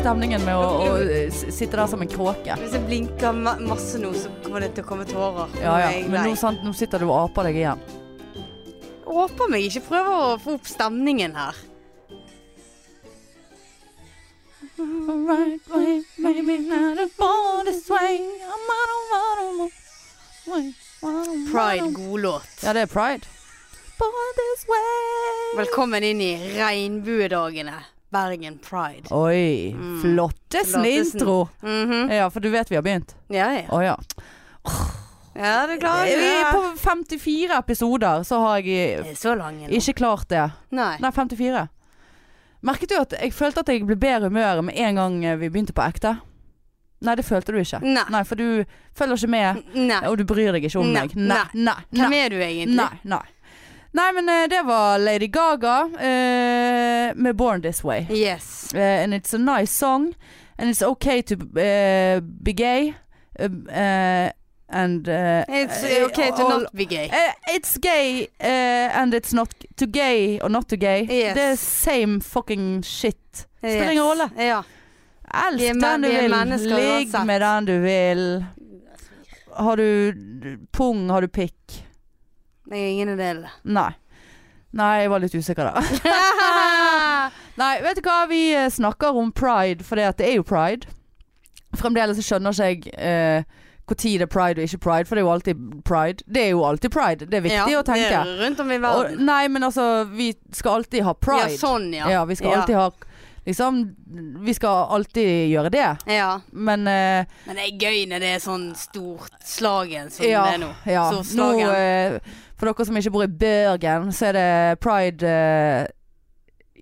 stemningen med å, å s- sitte der som en kråke. Hvis jeg blinker ma masse nå, så kommer det til å komme tårer. Ja, ja. Jeg- Men nei. nå, sant, nå sitter du og aper deg igjen. Håper meg ikke prøver å få opp stemningen her. Pride, god låt. Ja, det er pride. Velkommen inn i regnbuedagene. Bergen Pride. Oi. Mm. Flottesen Flottesen. intro. Mhm. Ja, for du vet vi har begynt. Ja, ja. Å ja. Ja, du klarer Vi er det. På 54 episoder så har jeg eh, Det er Så lang en nå. ikke klart det. Nei. Nei, 54. Merket du at jeg følte at jeg ble bedre i humøret med en gang eh, vi begynte på ekte? Nei, det følte du ikke. Nei. Nei, for du følger ikke med, Nei. og du bryr deg ikke om Nei. meg. Nei, nei, nei. Hvem er du egentlig? Nei, nei. Nei, men eh, det var Lady Gaga eh, med 'Born This Way'. Yes. Eh, and it's a nice song, and it's okay to eh, be gay, eh, eh, and eh, It's eh, okay to all- not be gay. Eh, it's gay, eh, and it's not to gay or not to gay. Yes. Det er same fucking shit. Spiller Yes. ingen rolle. Ja. Elsk Vi er men- den du vi er vil. mennesker Ligg uansett. med den du vil. Har du d- pung, har du pikk? Jeg er ingen av delene. Nei. Nei, jeg var litt usikker da. Nei, vet du hva? Vi eh, snakker om pride, for det at det er jo pride. Fremdeles så skjønner ikke jeg eh, hvor tid det er pride og ikke pride, for det er jo alltid pride. Det er jo alltid pride. Det er viktig å tenke. Det er rundt om i Og, verden. nei, men altså, vi skal alltid ha pride. Ja, sånn, ja. Ja, vi skal Ja. alltid ha Liksom, vi skal alltid gjøre det. Ja. Men eh, Men det er gøy når det er sånn stort slagen som ja, det er nå. ja. Nå, Storslagen. eh, for dere som ikke bor i Bergen, så er det pride eh,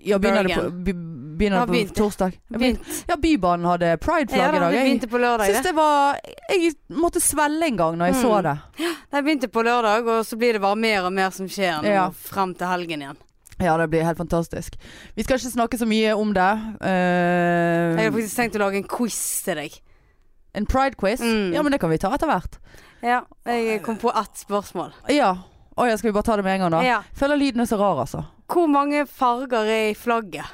Ja, begynner det på, Bergen. be, begynner Har det begynt. på torsdag? Ja, begynte- Begynt. Ja, Bybanen hadde Ja, prideflagg da, i dag. det Jeg begynte på lørdag. syns Det. det var Jeg måtte svelge en gang når jeg Mm. så det. det begynte på lørdag, og så blir det bare mer og mer som skjer nå Ja. frem til helgen igjen. Ja, det blir helt fantastisk. Vi skal ikke snakke så mye om det. Eh, Jeg har faktisk tenkt å lage en quiz til deg. en pride-quiz? Mm. Ja, men det kan vi ta etter hvert. Ja, jeg kom på ett spørsmål. Ja. Å ja, skal vi bare ta det med en gang, da? Ja. Føler lyden er så rar, altså. Hvor mange farger er i flagget?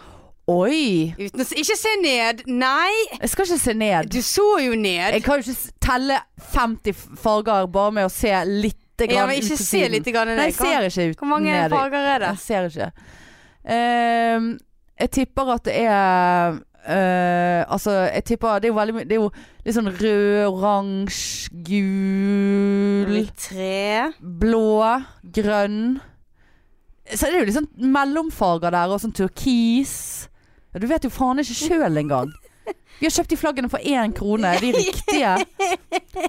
Oi! Uten å s- Ikke se ned! Nei! Jeg skal ikke se ned. Du så jo ned. Jeg kan jo ikke s- telle 50 farger bare med å se lite Ja, grann men ikke ut til se siden. litt grann ned. Nei, jeg ser ikke ut Hvor mange ned i- farger er det? Jeg ser ikke. Ehm, jeg tipper at det er eh, altså, jeg tipper Det er jo veldig mye Det er jo litt sånn rød, oransje, gul, Tre blå, grønn. Så det er jo litt sånn mellomfarger der, og sånn turkis. Ja, du vet jo faen ikke sjøl engang. Vi har kjøpt de flaggene for én krone, de riktige.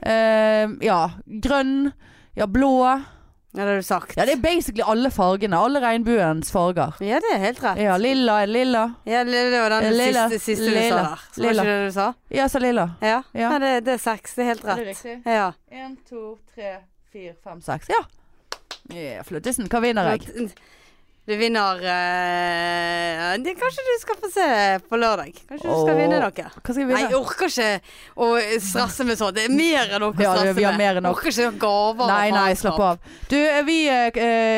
Ehm, ja. Grønn. Ja, blå. Ja, det har du sagt. Ja, det er basically alle fargene. Alle regnbuens farger. Ja, det er helt rett. Ja, lilla er lilla. Ja, det det var den Lilla. siste, siste du Lilla. sa der. Så var Lilla. ikke det du sa? Ja, sa lilla. Ja, Ja. Nei, det, det er seks. Det er helt rett. riktig? Ja. Én, to, tre, fire, fem, seks. Ja. Ja, Fløttesen, hva vinner jeg? Du vinner eh, det, Kanskje du skal få se på lørdag. Kanskje du skal Åh. vinne noe. Hva skal jeg Nei, jeg vinne? orker ikke å stresse med sånt. Det er mer enn noe å Ja, stresse det- vi har mer enn med. nok. Orker ikke noen gaver. og Nei, nei, faenskap. slapp av. Du, eh, vi eh,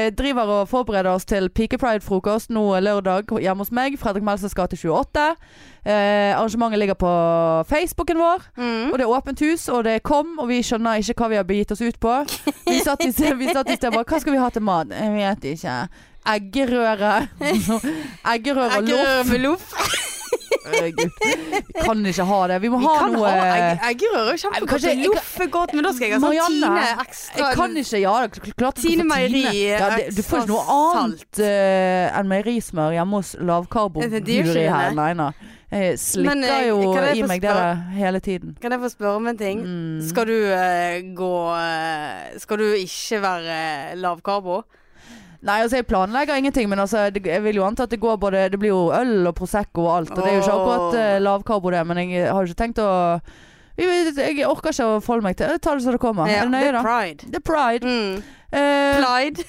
eh, driver og forbereder oss til pikepride-frokost nå eh, lørdag hjemme hos meg. Fredrik Melsens gate 28. Eh, arrangementet ligger på Facebooken vår. Mm. Og det er åpent hus, og det kom, og vi skjønner ikke hva vi har begitt oss ut på. Vi satt i sted, vi satt i sted bare Hva skal vi ha til mat? Jeg vet ikke. Eggerøre. Eggerøre og loff. Eggerøre med loff. Herregud. Vi kan ikke ha det. Vi må Vi ha kan noe ha egg, eggerøre. er Kjempegodt. kanskje- Loff er godt, men da skal jeg ha sånn Marianne, Tine Jeg ekstra kan ikke, ja. det er Klart du skal Tine få Meieri, Ja, det, du får ikke noe ekstra annet eh, enn meierismør hjemme hos Det- det er jo lavkarboguri ikke her. det. Nei, nei. Jeg Men, eh, slikker jo kan jeg i få meg det spørre- der hele tiden. Mm. Kan jeg få spørre om en ting? Skal du eh, gå eh, Skal du ikke være lavkarbo? Nei, altså jeg planlegger ingenting, men altså, det, jeg vil jo anta at det går både Det blir jo øl og prosecco og alt. Og det er jo ikke Åh. akkurat eh, lavkarbo, det, men jeg har jo ikke tenkt å jeg, jeg orker ikke å forholde meg til Ta det som det kommer. er det nøye, er da? pride. Det er pride. Mm. Eh, Pride.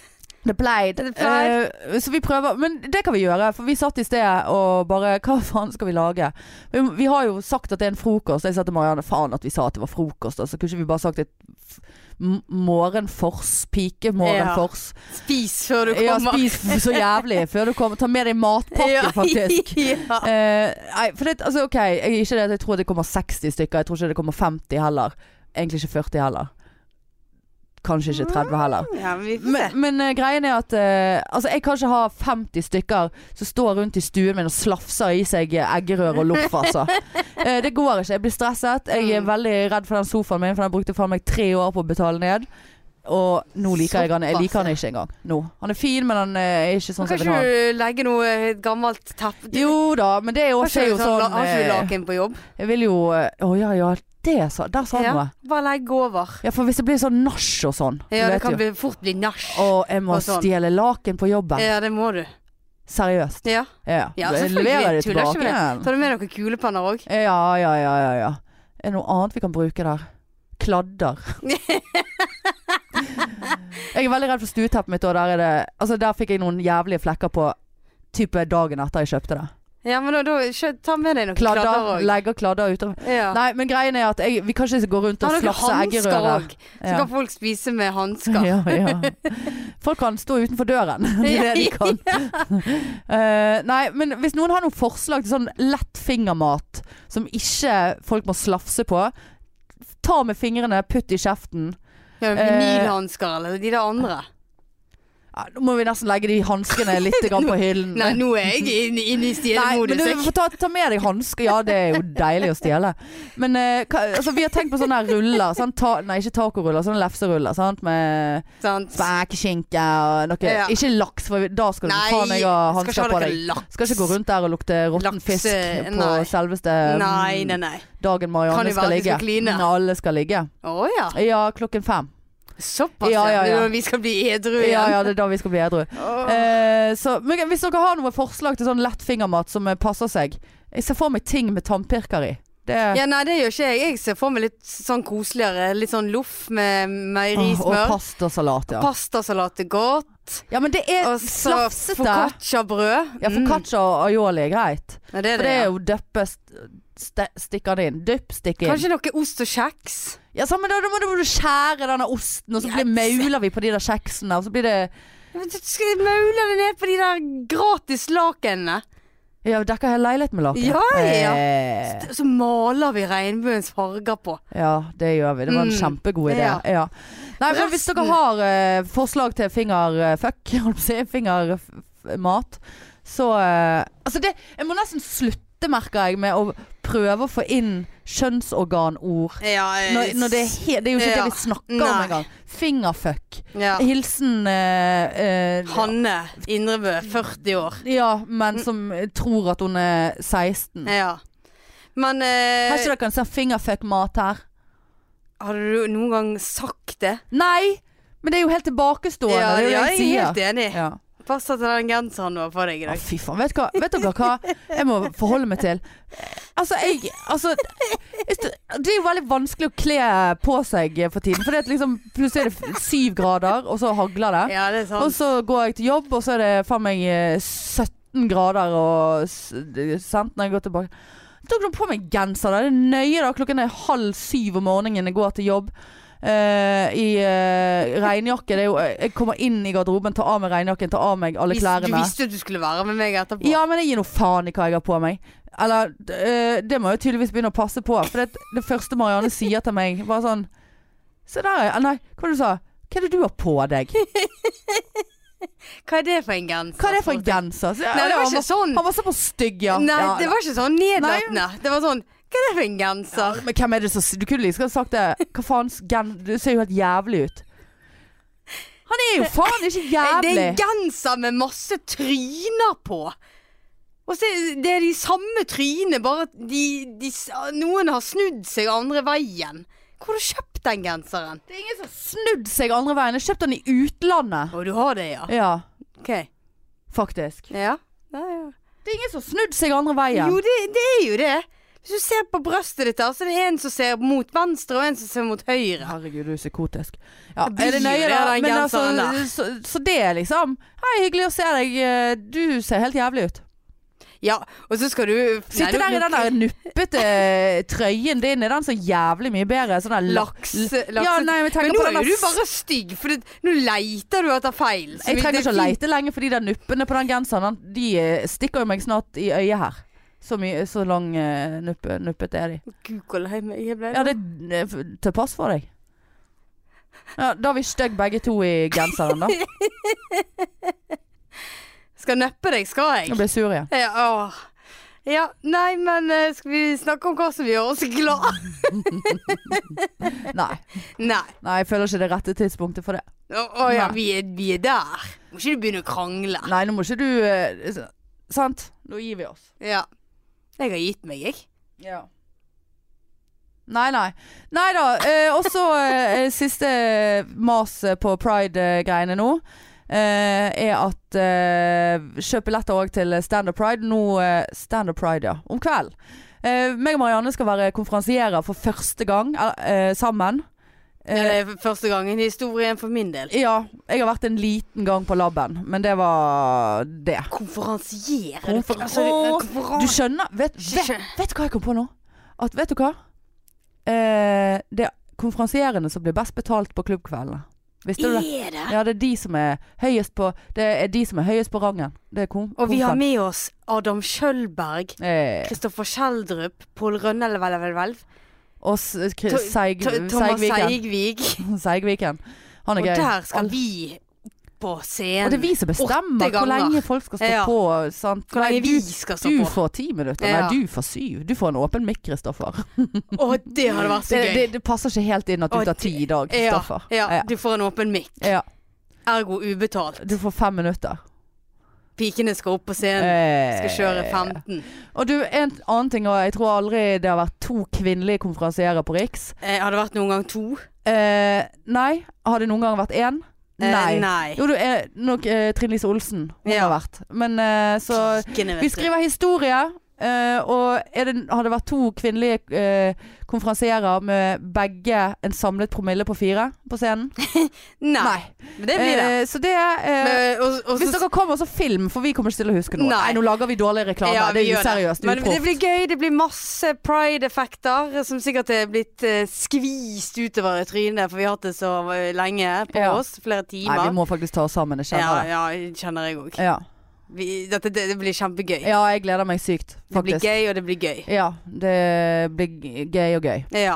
The Plaid. The Plaid. Eh, så vi prøver, men det kan vi gjøre. For vi satt i sted og bare Hva faen skal vi lage? Vi, vi har jo sagt at det er en frokost. Jeg sa til Marianne faen at vi sa at det var frokost. Altså, kunne ikke vi bare sagt et f- m- morgenfors? Pikemorgenfors. Spis før du Ja, kommer. spis f- så jævlig før du kommer. Ta med deg matpakke, faktisk. ja. Eh, nei, for det, altså, ok, jeg, ikke det, at jeg tror det kommer 60 stykker. Jeg tror ikke det kommer 50 heller. Egentlig ikke 40 heller. Kanskje ikke 30 heller. ja, men vi får se. Men, men eh, greien er at eh, altså, jeg kan ikke ha 50 stykker som står rundt i stuen min og slafser i seg eh, eggerør og loff, altså. Eh, det går ikke. Jeg blir stresset. Jeg er Mm. veldig redd for den sofaen min, for den brukte faen meg tre år på å betale ned. Og nå liker jeg han Jeg Såpass, liker han ikke engang. Nå. Han er fin, men han eh, er ikke sånn som Kan jeg vil ikke ha han. du legge noe eh, gammelt teppe Du- Jo da, men det er jo, har det er ikke, jo du sånn, sånn har ikke du eh, laken på jobb? Jeg vil jo eh, Å ja, ja. Det sa Der sa du Ja. noe. Bare legg over. Ja, for hvis det blir sånn nach og sånn du Ja, det vet kan jo. bli, fort bli nach. Å, jeg må og sånn. stjele laken på jobben. Ja, det må du. Seriøst. Ja. Ja. Ja, Jeg selvfølgelig. leverer det Tuller ikke tilbake. igjen. Tar du med dere kulepenner òg? Ja, ja, ja, ja, ja. Er det noe annet vi kan bruke der? Kladder. jeg er veldig redd for stueteppet mitt, og der er det Altså, der fikk jeg noen jævlige flekker på type dagen etter jeg kjøpte det. Ja, men da, da kjø- ta med deg noen kladder Kladder. òg. Legger kladder utover. Ja. Nei, men greien er at jeg, vi kan ikke gå rundt Har og dere slafse hansker eggerører. òg? Så kan folk spise med hansker. Ja, ja. Folk kan stå utenfor døren. Det er det de kan. Eh, nei, men hvis noen har noen forslag til sånn lett fingermat som ikke folk må slafse på, ta med fingrene, putt i kjeften. Ja, Eh, Vinylhansker eller de der andre. Ja, nå må vi nesten legge de hanskene litt grann på hyllen. Nei, nå er jeg inne inn Nei, i men stjelemodus. du jeg. får ta, ta med deg hansker. Ja, det er jo deilig å stjele. Men eh, hva, altså, vi har tenkt på sånne her ruller. Sånn ta, nei, ikke tacoruller, sånne lefseruller. Sant? Med Sant? spekeskinke og noe. Ja. Ikke laks, for da skal du Nei, faen meg ha skal ikke ha hansker på noe deg. laks. Skal ikke gå rundt der og lukte råtten Laks, fisk eh, på nei. selveste Nei, nei, nei. dagen Kan Marianne det være skal at de ligge. skal kline? Mm, alle skal ligge. Å ja. Ja, klokken fem. Såpass, Ja, ja, ja. Når vi skal bli edru igjen. Ja, ja, det er da vi skal bli edru. Åh. Eh, så, men hvis dere har noen forslag til sånn lett fingermat som eh, passer seg Jeg ser for meg ting med tannpirker i. Det Ja, nei, det gjør ikke jeg. Jeg ser for meg litt sånn koseligere. Litt sånn loff med Åh, og meierismør. pastasalat, ja. Pastasalat er godt. Ja, men det er Og så Eh, slafsete. foccacciabrød. Ja, Foccaccia og aioli er greit. Mm. Ja, det For er det det. er ja. jo døppe st- ste- Stikker det inn. Dypp, stikk inn. Kanskje noe ost og kjeks? Ja, samme da, da må du- må du skjære denne osten, og så blir, Yes. mauler vi på de der kjeksene, og så blir det Ja, men Skal jeg maule det ned på de der gratis lakenene? Ja, vi dekker hele leiligheten med laken. Ja, ja. Eh, Så maler vi regnbuens farger på. ja, det gjør vi. Det var en Mm. kjempegod idé. Ja. Ja. Nei, men hvis dere Resten- har eh, forslag til fingerfuck, holdt på å si, fingermat, så eh, Altså, det Jeg må nesten slutte, merker jeg, med å prøve å få inn kjønnsorganord. Ja, eh, Når, når det, er he det er jo ikke Ja. det vi snakker om Nei. engang. Fingerfuck. ja. Hilsen eh, eh, Hanne Indrebø, 40 år. Ja, men som tror at hun er 16. Ja. Men Mm. eh, Har ikke dere en sånn fingerfuck-mat her? har du noen gang sagt det? Nei! Men det er jo helt tilbakestående. ja, det er jo ja, det jeg er jeg helt sier. enig. Ja. Pass at den genseren du har på deg i Å, dag. fy faen. Vet, hva, vet dere hva jeg må forholde meg til? Altså, jeg Altså jeg st- Det er jo veldig vanskelig å kle på seg for tiden. For det er liksom plutselig er det f- syv grader, og så hagler det. Ja, det er Og sant. så går jeg til jobb, og så er det faen meg eh, 17 grader og s- d- sant, når jeg går tilbake. Da tok de på meg genser. da. Det er nøye da. Klokken er halv syv om morgenen jeg går til jobb. eh, I eh, regnjakke. Det er jo, jeg kommer inn i garderoben, tar av meg regnjakken, tar av meg alle Vis- Du klærne. visste at du skulle være med meg etterpå. Ja, men jeg gir nå faen i hva jeg har på meg. Eller d- eh, Det må jeg jo tydeligvis begynne å passe på. For det, det første Marianne sier til meg, var sånn Se der, ja. Nei, hva var det du sa? Hva er det du har på deg? Hva er det for en genser? Hva er det for en Frode? genser? Så, ja, Nei, det var han ikke sånn. Han var såpass stygg, ja. Nei, ja, det var ikke sånn nedlatende. Det var sånn Hva er det for en genser? Men hvem er det som Du kunne like liksom sagt det. Hva faen gen... Du ser jo helt jævlig ut. Han er jo faen ikke Det er en jævlig. genser med masse tryner på. Og så er det er de samme trynene, bare at de, de, s- noen har snudd seg andre veien. Hvor har du kjøpt den genseren? Det er ingen som har snudd seg andre veien. Jeg kjøpte den i utlandet. Å, du har det, ja. Ja, Ok. faktisk. Ja. ja, ja. Det er ingen som har snudd seg andre veien. Jo, det, det er jo det. Hvis du ser på brøstet ditt, her, så er det en som ser mot venstre, og en som ser mot høyre. Herregud, du er psykotisk. Ja, Jeg blir er det nøye, det av da? den Men altså, genseren så, så det er liksom Hei, hyggelig å se deg. eh, Du ser helt jævlig ut. Ja, og så skal du Sitte der i den der nuppete eh, trøyen din, er den så jævlig mye bedre? Sånn der lak- Laks... laks Ja, nei, men jeg men tenker nå på den er du der bare stygg, for det, nå leiter du etter feil. så Jeg det- trenger det er ikke å fint. leite lenge, for de der nuppene på den genseren, den- de eh, stikker jo meg snart i øyet her. Så, mye, så lang eh, nuppe, nuppete er de. Google hei, men jeg ble Ja, det er eh, til pass for deg. Ja, da er vi stygge begge to i genseren, da. Skal neppe deg, skal jeg? Jeg blir sur igjen. Ja, åh. ja, nei, men eh, skal vi snakke om hva som gjør oss glad? Nei. Nei. Nei, jeg føler ikke det er rette tidspunktet for det. Å å ja, Nei. vi er, vi er der. Må ikke du begynne å krangle. Nei, nå må ikke du eh, s- Sant? Nå gir vi oss. Ja. Jeg har gitt meg, jeg. Ja. Nei, nei. Nei da. Eh, og så eh, siste mas på pride-greiene nå. Eh, er at eh, Kjøp billetter òg til Standup Pride. Nå eh, Standup Pride, ja. Om kvelden. Eh, meg og Marianne skal være konferansierer for første gang eh, eh, sammen. Ja, det er Eh, første gangen i historien for min del. Ja, jeg har vært en liten gang på laben, men det var det. Konferansiere. altså, Konfer- Åh, Du konferanse... skjønner vet, vet, vet du hva jeg kom på nå? At, vet du hva? Eh, det er konferansierende som blir best betalt på klubbkveldene. Visste du det? Er det? Ja, det er de som er høyest på Det er de som er høyest på rangen. Det er kom, Og vi har konfen. med oss Adam Kjølberg, eh, Kristoffer Kjeldrup, Pål Rønnelv, vel, vel, vel. Og s- Kri- To- Seig- To- Thomas Seigviken. Seigvig. Seigviken. Han er Og gøy. der Alle- skal vi på scenen. og det er vi som bestemmer åtte hvor lenge ganger. folk skal stå Ja. på. Sant? Hvor Nei, lenge vi du, skal stå du på. får ti minutter. Ja. Nei, du får syv. Du får en åpen mikk, Kristoffer. Å, det hadde vært så Det, gøy. det, det passer ikke helt inn at du Å, tar det- ti i dag, Kristoffer. Ja, ja, Ja. du får en åpen mic. ja. Ergo ubetalt. Du får fem minutter. Pikene skal opp på Eh, scenen. Skal Skal kjøre 15. Og du, en annen ting, og jeg tror aldri det har vært to kvinnelige konferansierer på Riks. Eh, har det vært noen gang to? Eh, nei. Har det noen gang vært én? Eh, Nei. nei. Jo, du er nok eh, Trine Lise Olsen hun Ja. har vært. Men eh, så Pikene, vet Vi du. skriver historie. eh, og er det, har det vært to kvinnelige eh, konferansierer med begge en samlet promille på fire på scenen? Nei. Men det blir det. Eh, så det eh, Men, og, og, Hvis dere kommer, så film, for vi kommer ikke til å huske noe. Nei, Nei. nå lager vi dårlig reklame. Ja, det vi er gjør useriøst. Men det uproft. blir gøy. Det blir masse pride-effekter som sikkert er blitt eh, skvist utover i trynet, for vi har hatt det så eh, lenge på Ja. oss. Flere Nei, vi timer. må faktisk ta oss sammen. Jeg ja, kjenner ja, kjenner jeg òg. det. Ja. Dette det, det blir kjempegøy. ja, jeg gleder meg sykt, det blir faktisk. gøy, og det blir gøy. Ja, det blir g- gøy og gøy. Ja.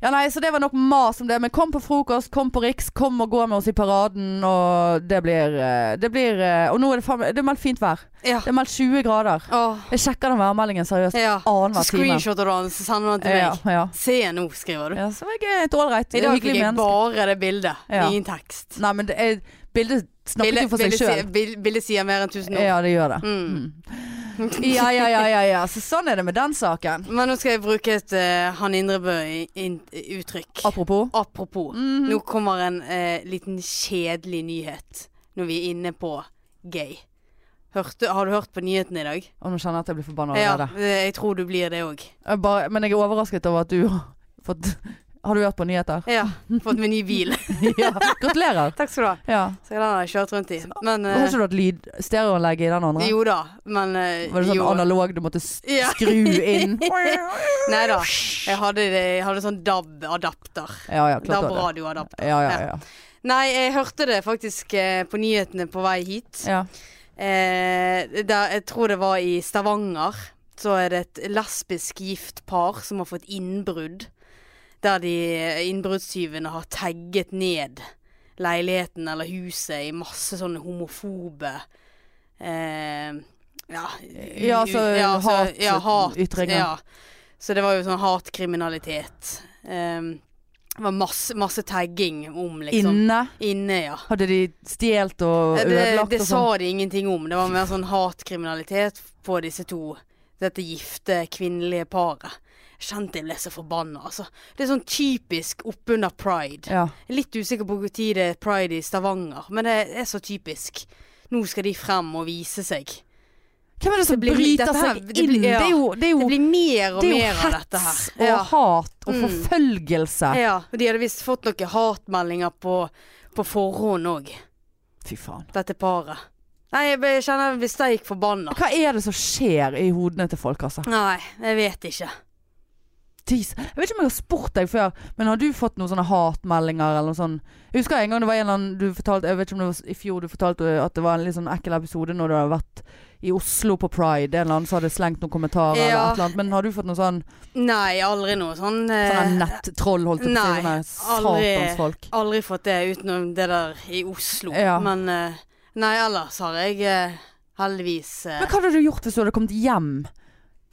Ja, nei, Så det var nok mas om det. Men kom på frokost, kom på Riks, kom og gå med oss i paraden. Og det blir, eh, det blir eh, Og nå er det, faen- det er meldt fint vær. ja. Det er meldt 20 grader. Åh, Jeg sjekker den værmeldingen seriøst ja. Så annenhver time. screenshotter du han, så sender du han til Ja, meg. ja. Se nå, skriver du. ja, så jeg er et ålreit, I dag fikk hyggelig jeg menneske. bare det bildet. Ja. Ingen tekst. Nei, men det er, bildet snakker jo for seg sjøl. sier- bil- bildet sier mer enn tusen ord. Ja, det gjør det. Mm. Ja, ja, ja, ja, ja. Så sånn er det med den saken. Men nå skal jeg bruke et eh, Han Indrebø i- in- uttrykk. Apropos. Mm. Apropos. Nå kommer en eh, liten kjedelig nyhet når vi er inne på gay. Hørte, har du hørt på nyhetene i dag? Og nå kjenner jeg at jeg blir forbanna Ja, allerede. eh, jeg tror du blir det òg. Jeg bare- Men jeg er overrasket over at du har fått Har du hørt på nyheter? Ja. Fått meg ny bil. ja. Gratulerer. Takk skal du ha. Ja. Så den har jeg kjørt rundt i. Men eh, Har ikke du hatt lyd stereoanlegg i den andre? Jo da, men eh, Var det sånn jo. analog du måtte s- Ja. skru inn? Nei da. Jeg hadde, det, jeg hadde sånn DAB-adapter. Ja ja, klart du hadde det. DAB-radioadapter. Ja, ja, ja. Nei, jeg hørte det faktisk eh, på nyhetene på vei hit. ja. Eh, der, jeg tror det var i Stavanger. Så er det et lesbisk gift par som har fått innbrudd. Der de eh, innbruddstyvene har tagget ned leiligheten eller huset i masse sånne homofobe eh, ja, Ja, altså, hat- ytringer. Ja. Så det var jo sånn hatkriminalitet. Eh, det var masse, masse tagging om, liksom. Inne? Inne, ja. Hadde de stjålet og Det, ødelagt det og sånn? sa de ingenting om. Det var mer sånn hatkriminalitet på disse to. Dette gifte kvinnelige paret. Jeg Kjente jeg ble så forbanna, altså. Det er sånn typisk oppunder pride. Ja. Jeg er Litt usikker på hvor tid det er pride i Stavanger, men det er så typisk. Nå skal de frem og vise seg. Hvem er det som Det blir- bryter dette her- seg det inn? blir- ja. Det er jo, det er jo, Det blir mer og det er mer jo av dette her. hets Mm. og hat og Mm. forfølgelse. ja. og De hadde visst fått noen hatmeldinger på, på forhånd òg, Fy faen. dette paret. Nei, jeg ble- kjenner jeg blir steik forbanna. Hva er det som skjer i hodene til folk, altså? Nei, jeg vet ikke. Jeez. Jeg vet ikke om jeg har spurt deg før, men har du fått noen sånne hatmeldinger eller noe sånn? Jeg husker en gang det var en eller annen du fortalte, jeg vet ikke om det var i fjor du fortalte eh, at det var en litt sånn ekkel episode når du hadde vært i Oslo på Pride. En eller annen som hadde slengt noen kommentarer eller Ja. et eller annet. Men har du fått noen sånn, Nei, aldri noe sånn. sånne Eh, nettroll, holdt jeg på å nei, si? sånn Sånne aldri. satansfolk. aldri fått det utenom det der i Oslo. Ja. Men eh, nei, ellers har jeg eh, heldigvis eh, Men hva hadde du gjort hvis du hadde kommet hjem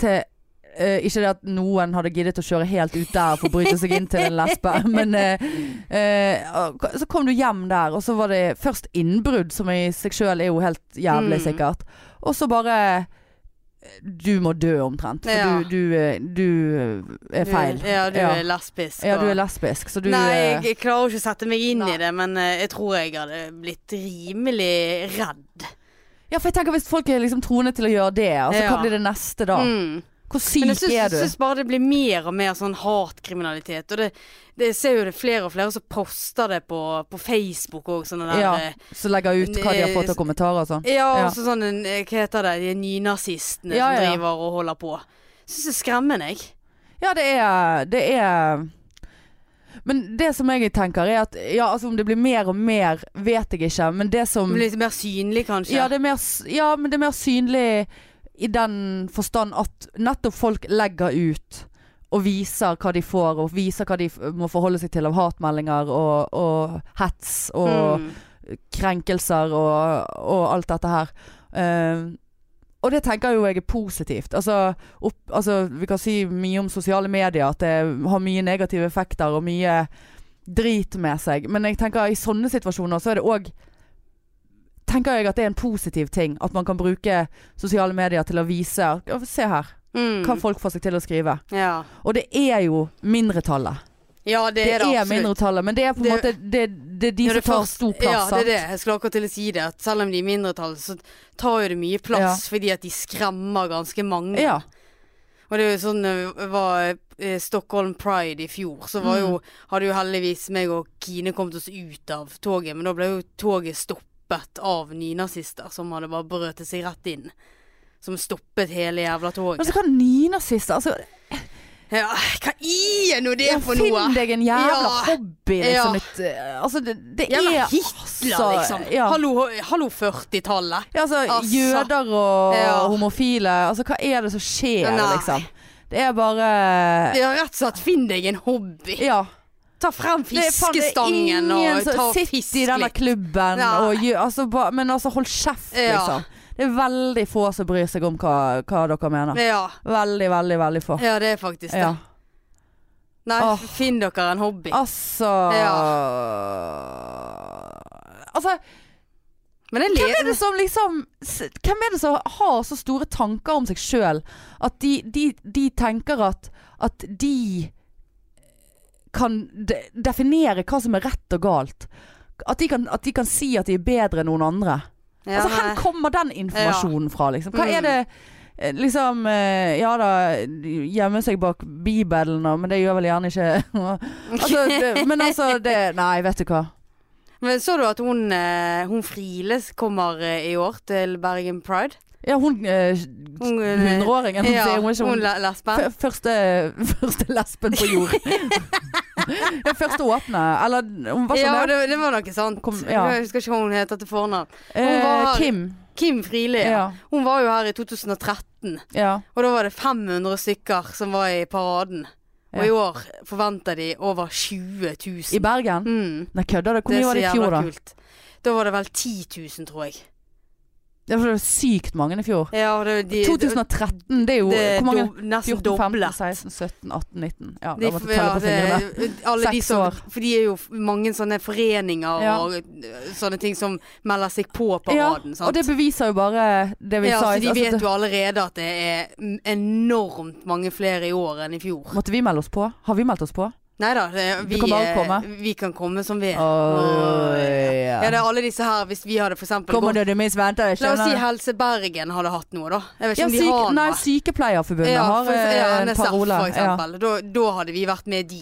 til eh, Ikke det at noen hadde giddet å kjøre helt ut der for å bryte seg inn til en lesbe, men eh, eh, og- Så kom du hjem der, og så var det først innbrudd, som i seg sjøl er jo helt jævlig Mm. sikkert. Og så bare eh, Du må dø, omtrent. For Ja. du, du, eh, du eh, er feil. Du, ja, du Ja. er lesbisk. Ja, du og- er lesbisk, så du Nei, eh, jeg, jeg klarer jo ikke å sette meg inn Nei. i det, men eh, jeg tror jeg hadde blitt rimelig redd. Ja, for jeg tenker hvis folk er liksom troende til å gjøre det, altså, Ja. hva blir det neste da? Mm. Hvor Men jeg syk syns, er du? syns bare det blir mer og mer sånn hatkriminalitet. Og det, det jeg ser jo det flere og flere som poster det på, på Facebook òg, sånne der Ja. eh, Så legger jeg ut hva de har fått av kommentarer og sånn. Ja, Ja. og så sånn en, eh, Hva heter det? De nynazistene Ja, ja, som ja. driver og holder på. Syns det er skremmende, jeg. Ja, det er, det er Men det som jeg tenker er at Ja, altså om det blir mer og mer, vet jeg ikke. Men det som Det blir Litt mer synlig, kanskje. Mm. ja, det er mer, s- ja, men det er mer synlig i den forstand at nettopp folk legger ut og viser hva de får, og viser hva de f- må forholde seg til av hatmeldinger og, og hets og Mm. krenkelser og, og alt dette her. Eh, og det tenker jo jeg er positivt. Altså, opp, altså, vi kan si mye om sosiale medier, at det har mye negative effekter og mye drit med seg. Men jeg tenker i sånne situasjoner så er det òg Tenker jeg at det er en positiv ting. At man kan bruke sosiale medier til å vise ja, Se her, Mm. hva folk får seg til å skrive. Ja. Og det er jo mindretallet. ja, det, Det er det er absolutt. mindretallet, men det er på en Det- måte det, det er de Når som det tar først- stor plass. Ja, det er sant? det. Jeg skulle akkurat til å si det. At selv om de er mindretall, så tar jo det mye plass fordi at de skremmer ganske mange. Ja. Og det er jo sånn eh, var eh, Stockholm Pride i fjor, så var jo, hadde jo heldigvis meg og Kine kommet oss ut av toget, men da ble jo toget stoppet av nynazister som hadde bare brøtet seg rett inn. Som stoppet hele jævla Men toget. så kan nynazister altså, Ja, hva er nå det ja, for noe? Finn deg en jævla Ja. hobby, liksom. Ja. Et, eh, altså, det, det er Jævla Hitler, altså, liksom. Ja. Hallo, hallo 40-tallet. Ja, altså, Altså. Jøder og Ja. homofile. Altså, hva er det som skjer, Nei. liksom? Det er bare Ja, rett og slett, finn deg en hobby. Ja. Ta frem Det er faen- det er fiskestangen ingen og som- ta Sitt fisk i denne litt. klubben Nei. og gjør altså, ba, Men altså, hold kjeft, Ja. liksom. Det er veldig få som bryr seg om hva, hva dere mener. Ja, Veldig, veldig, veldig få. ja, det er faktisk det. Ja. Nei, Åh. finn dere en hobby. Altså Altså Men jeg Hvem er le- det som liksom s- Hvem er det som har så store tanker om seg sjøl at de, de, de tenker at, at de kan de, definere hva som er rett og galt? At de, kan, at de kan si at de er bedre enn noen andre. ja, altså, nei. Mm. Hvor kommer den informasjonen fra, liksom? Hva er det eh, Liksom eh, Ja da, gjemme seg bak Bibelen, og- men det gjør vel gjerne ikke altså, det, Men altså det, Nei, vet du hva. Men så du at hun, eh, hun Friles kommer eh, i år til Bergen Pride? Ja, hun eh, Hun, eh, hundreåringen. Ja, sier hun er ikke hun hun, le- lesben. f- første, første lesben på jord. Den første åpne. Eller hun var Ja, sånn det, det var noe sant. Kom- ja. Jeg husker ikke hva hun heter til fornavn. hun eh, var- Kim. Kim Friele. Ja. Ja. Hun var jo her i 2013, ja. og da var det 500 stykker som var i paraden. Og Ja. i år forventer de over 20 I 000. Bergen. Mm. Nei, kødder du? Hvor mye var det i fjor, da? kult. Da var det vel 10 000, tror jeg. Det var sykt mange i fjor. Ja, og det, de, 2013, det er jo det, Hvor mange? do, nesten 14, 15, doblet. 16, 17, 18, 19. Ja, De, da måtte jeg ja, telle på fingrene. det, alle de Seks som, år. for de er jo f- mange sånne foreninger Ja. og øh, sånne ting som melder seg på Ja, paraden. og sant? det beviser jo bare det vi ja, sa. så de altså, vet det- jo allerede at det er m- enormt mange flere i år enn i fjor. Måtte vi melde oss på? Har vi meldt oss på? Nei da, det- Du vi, kan bare eh, komme. vi kan komme som vi er. Oi, ja. ja. det er alle disse her, hvis vi hadde for eksempel Kommer gått du du minst venter? jeg La oss si skjønner. Helse Bergen hadde hatt noe, da. Jeg vet ikke ja, om de syk, har nei, noe. Sykepleierforbundet har for- eh, ja, en NSF, parole. Ja. for eksempel. Da, da hadde vi vært med de.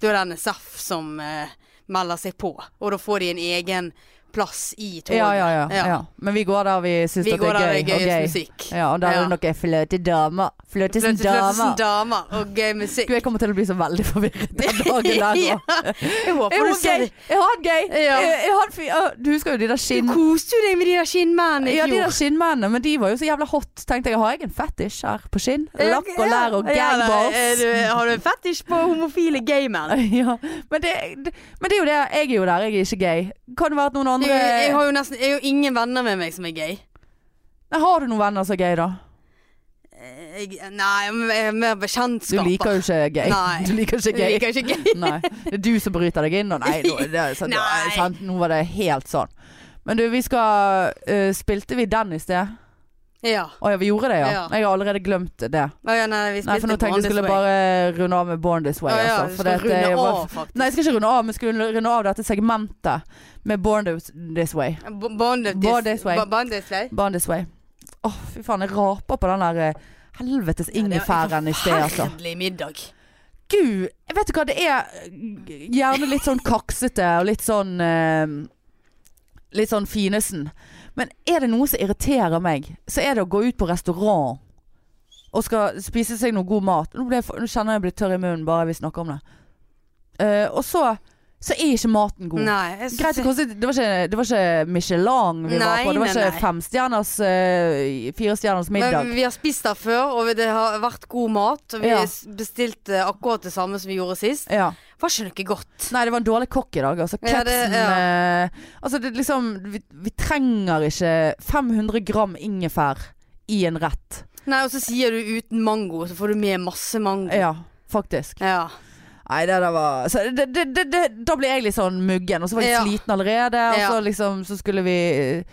Da er det NSF som eh, melder seg på, og da får de en egen plass i toget. Ja, ja, ja, ja. Men vi går der vi syns Vi at det går der er det gøy. er og gøyest gøy. musikk. Ja, og der Ja. er det noe fløte damer. Fløte som Fløte- fløte som damer. damer og gøy musikk. Gud, jeg kommer til å bli så veldig forvirret den dagen der Ja, òg. jeg Jeg håper du har ser gøy! det. Jeg har det gøy! Ja. Jeg- jeg har en fyr- Å, Du husker jo de der Du skinn... koste jo deg med de der skinnmennene i Ja, de der fjor. skinnmennene, men de var jo så jævla hot. Tenkte jeg, har jeg en fetisj her på skinn? Lakk og lær og Ja, da, gangballs. eh, du- Har du en fetisj på homofile gay menn? Ja, men det, det, men det er jo det. Jeg er jo der, jeg er ikke gay. Kan det være at noen andre Jeg, jeg har jo nesten Jeg har jo ingen venner med meg som er gay. Nei, har du noen venner som er gay, da? Eh, Jeg, nei, men jeg er mer Du bekjentskaper. liker jo ikke gay. Nei. Du liker ikke Jeg gay. liker ikke gay. Nei, det er du som bryter deg inn nå. Nei, nå, det er sant, det er Nei. sant, nå var det helt sånn. Men du, vi skal øh, Spilte vi den i sted? Ja. Å ja, vi gjorde det, ja. Ja. Jeg har allerede glemt det. Å ja, nei, vi Nei, for nå spilte tenkte jeg skulle bare runde av med Born This Way. Å ja, altså, vi for skal det at jeg runde var- av, faktisk. Nei, jeg skal ikke runde av, men skulle runde av dette segmentet med Born This, this Way. B- Bond this, Bond this way. Bo- Bond this way. Born This Way. Å, fy faen, jeg raper på den der eh, helvetes ingefæren i sted, altså. Forferdelig middag. Gud, jeg vet du hva, det er eh, gjerne litt sånn kaksete og litt sånn eh, Litt sånn finesen. Men er det noe som irriterer meg, så er det å gå ut på restaurant og skal spise seg noe god mat. Nå, ble jeg, for- nå kjenner jeg jeg blir tørr i munnen bare vi snakker om det. Eh, og så, så er ikke maten god. Nei, jeg synes- Greit, det, kostet, det, var ikke, det var ikke Michelin vi var Nei, på. Det var nei, ikke nei. femstjerners uh, firestjerners middag. Men vi har spist der før, og det har vært god mat. Og vi Ja. s- bestilte akkurat det samme som vi gjorde sist. Ja. Var ikke noe godt. Nei, det var en dårlig kokk i dag. Altså, Ja, det- kepsen eh, Altså, det er liksom vi, vi trenger ikke 500 gram ingefær i en rett. Nei, og så sier du uten mango, så får du med masse mango. Ja, faktisk. Mm. Ja. Nei, det der var så det, det, det, det, Da ble jeg litt sånn muggen, og så var jeg Ja. sliten allerede, og Ja. så liksom Så skulle vi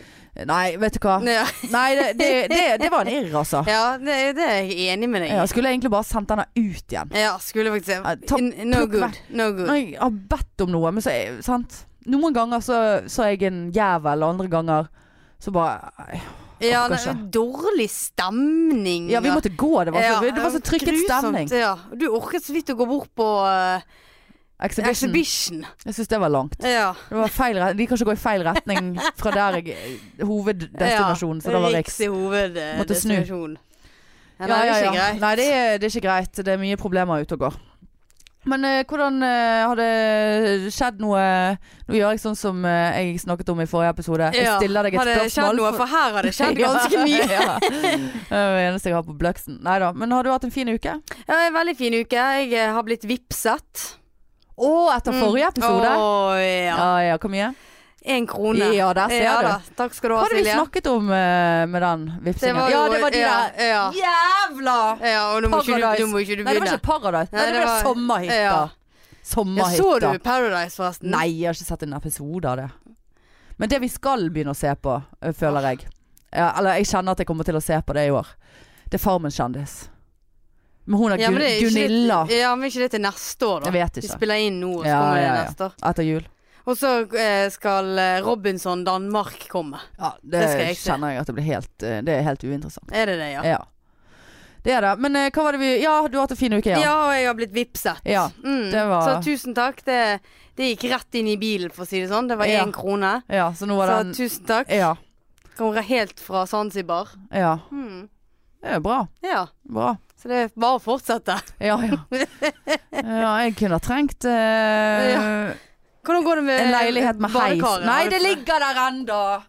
Nei, vet du hva. Ja, Nei, det, det, det, det var en irr, altså. ja det, det er jeg enig med deg i. Ja, skulle jeg egentlig bare sendt denne ut igjen. Ja, skulle faktisk Ja, topp- N- No topp good. vær- No good. Når jeg har bedt om noe, men så er sant? Noen ganger så, så er jeg en jævel, og andre ganger så bare Ja, orker nei, dårlig stemning. Ja, vi og- måtte gå. Det var så, Ja, det var så trykket grusomt, stemning. Ja. Du orket så vidt å gå bort på eh, Exhibition. Exhibition. Jeg syns det var langt. Ja. Det var feil, re- de kan ikke gå i feil retning fra der jeg eh, hoveddestinasjonen, så da var Riks. Riktig Måtte snu. hoveddestinasjon. Ja, Ja, nei, det ja, er ja. ikke greit. Nei, det er, det er ikke greit. Det er mye problemer ute og går. Men eh, hvordan eh, har det skjedd noe Nå gjør jeg sånn som eh, jeg snakket om i forrige episode. Jeg Ja. stiller deg et har det skjedd spørsmål. noe? For her har det skjedd ganske mye. ja. Det er det eneste jeg har på Bløksen. Nei da. Men har du hatt en fin uke? Ja, en veldig fin uke. Jeg eh, har blitt vipset. Å, etter forrige episode. Mm. Å, Ja, ja. ja. Hvor mye? En krone. Ja, der ser Ja du. da. Takk skal du Hva ha, hadde vi Silje. snakket om eh, med den vipsingen? var ja, jo- det var de ja, der Ja. jævla ja, og nå må ikke du, Paradise. nå må ikke Nei, du det var begynne. ikke Paradise. Nei, Nei, det det var var- sommerhytta. ja. Ja, så du Sommerhytta. Paradise, forresten? Nei, jeg har ikke sett en episode av det. Men det vi skal begynne å se på, ø, føler jeg ja, Eller jeg kjenner at jeg kommer til å se på det i år. Det er Farmen kjendis. Men hun er, Ja, men det er ikke det- Gunilla Ja, men ikke det til neste år, da. Jeg vet ikke. Vi spiller inn nå, og så Ja, kommer det ja, ja. neste år. etter jul. Og så eh, skal eh, Robinson Danmark komme. Ja, det, Det skal jeg se. kjenner jeg at det blir helt ø, Det er helt uinteressant. Er det det, ja? Ja. Det er det. Men ø, hva var det vi Ja, du har hatt en fin uke, Ja, ja. og jeg har blitt vipset. Ja, Mm. det var- Så tusen takk. Det, det gikk rett inn i bilen, for å si det sånn. Det var én Ja. krone. ja så nå Så var den tusen takk. Ja. Kommer helt fra Zanzibar. ja. Mm. Det er bra. Ja. Bra. Så det er bare å fortsette. Ja, ja. ja jeg kunne ha trengt eh, Hvordan går det med en leilighet med heis. Eh, badekaret? altså. Nei, Har du- det ligger der ennå!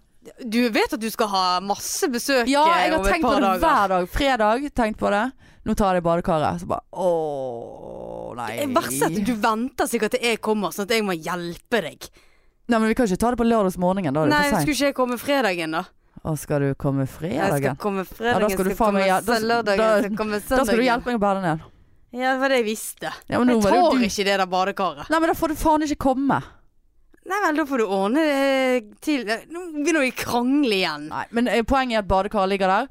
Du vet at du skal ha masse besøk Ja, eh, jeg har over et tenkt på par det dager. hver dag. Fredag tenkt på det. Nå tar jeg det i badekaret. Så bare ååå, nei. Det verste er at du venter sikkert til jeg kommer, sånn at jeg må hjelpe deg. Nei, men vi kan ikke ta det på lørdagsmorgenen. Da er det Nei, for seint. skulle ikke jeg komme fredagen, da? Å, skal du komme Jeg skal fredagen? komme fredagen, Ja, da skal du skal faen komme meg- ja, da- sø- lørdagen, da- skal komme søndagen. Da skal du hjelpe meg å bære den ned. Ja, det var det jeg visste. Ja, men nå jeg var det jo tår du. ikke det der badekaret. Nei, men da får du faen ikke komme. Nei vel, da får du ordne det eh, til Nå begynner vi å krangle igjen. Nei, men eh, poenget er at badekaret ligger der.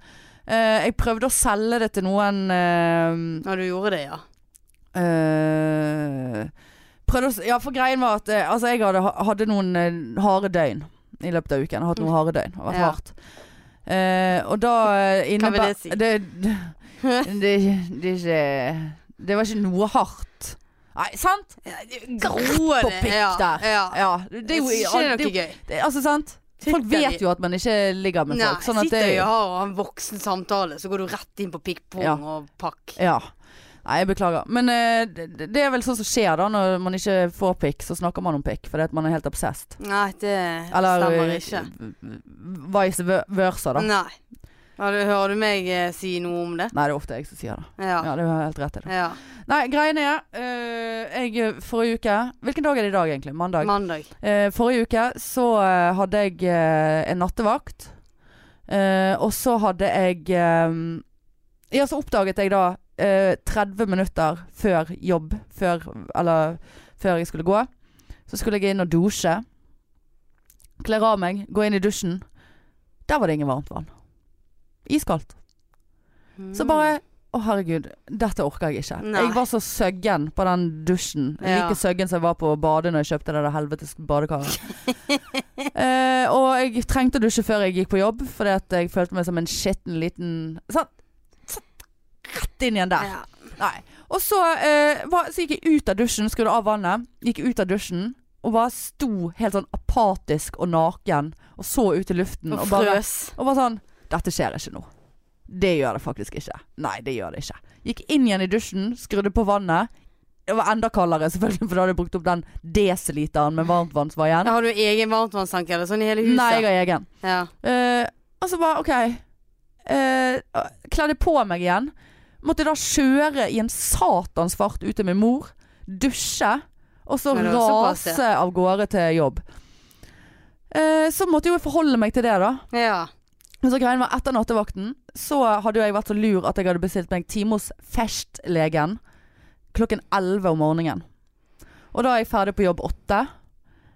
Eh, jeg prøvde å selge det til noen eh, Ja, du gjorde det, ja. Eh, prøvde å s- Ja, for greien var at eh, altså, jeg hadde, hadde noen eh, harde døgn i løpet av uken. Jeg har hatt noen harde døgn. Det har vært Mm. Ja. hardt. Eh, og da eh, Hva vil innebæ- det si? Det, det, det, det, er ikke, det var ikke noe hardt. Nei, sant? Groe på det. pikk ja, der. Ja. Ja. Det, det er jo Jeg synes Altså, ikke det det, er noe gøy. det, Altså, sant? Folk Sitter vi- vet jo at man ikke ligger med folk. Sånn Nei, at det sitter jo og har en voksen samtale, så går du rett inn på pikk-pong Ja. og pakk. Ja. Nei, jeg beklager. Men eh, det, det er vel sånn som skjer da når man ikke får pikk, så snakker man om pikk fordi at man er helt obsessed. Nei, det Eller stemmer eh, ikke. vice ver- versa, da. Nei. Har du, hører du meg eh, si noe om det? Nei, det er ofte jeg som sier det. Ja. Ja, det har helt rett i. det ja. Nei, greien er eh, Jeg forrige uke Hvilken dag er det i dag, egentlig? Mandag. Mandag. Eh, forrige uke så eh, hadde jeg eh, en nattevakt. Eh, og så hadde jeg eh, Ja, så oppdaget jeg da eh, 30 minutter før jobb, før, eller før jeg skulle gå, så skulle jeg inn og dusje. Kle av meg, gå inn i dusjen. Der var det ingen varmt vann. Iskaldt. Så bare Å, herregud, dette orker jeg ikke. Mm. Nei. Jeg var så søggen på den dusjen. Ja. Like søggen som jeg var på å bade når jeg kjøpte det der helvetes badekaret. eh, og jeg trengte å dusje før jeg gikk på jobb, fordi at jeg følte meg som en skitten liten Sånn. sånn, Rett inn igjen der. Ja. Nei. Og så, eh, var, så gikk jeg ut av dusjen, skrudde av vannet, gikk ut av dusjen og bare sto helt sånn apatisk og naken og så ut i luften. Og bare, frøs. Mm, og var sånn Dette skjer ikke nå. Det gjør det faktisk ikke. Nei, det gjør det ikke. Gikk inn igjen i dusjen, skrudde på vannet. Det var enda kaldere, selvfølgelig, for da hadde jeg brukt opp den desiliteren med varmtvann som var igjen. Har du egen varmtvannstanke eller sånn i hele huset? Nei, jeg har egen. ja. Eh, og så bare OK. Eh, kledde på meg igjen. Måtte da kjøre i en satans fart ut til min mor. Dusje. Og så Ja, det var såpass, ja. rase av gårde til jobb. Eh, så måtte jo jeg forholde meg til det, da. ja. Men så greien var etter nattevakten Så hadde jo jeg vært så lur at jeg hadde bestilt meg time hos festlegen Klokken 11 om morgenen Og da er jeg ferdig på jobb 8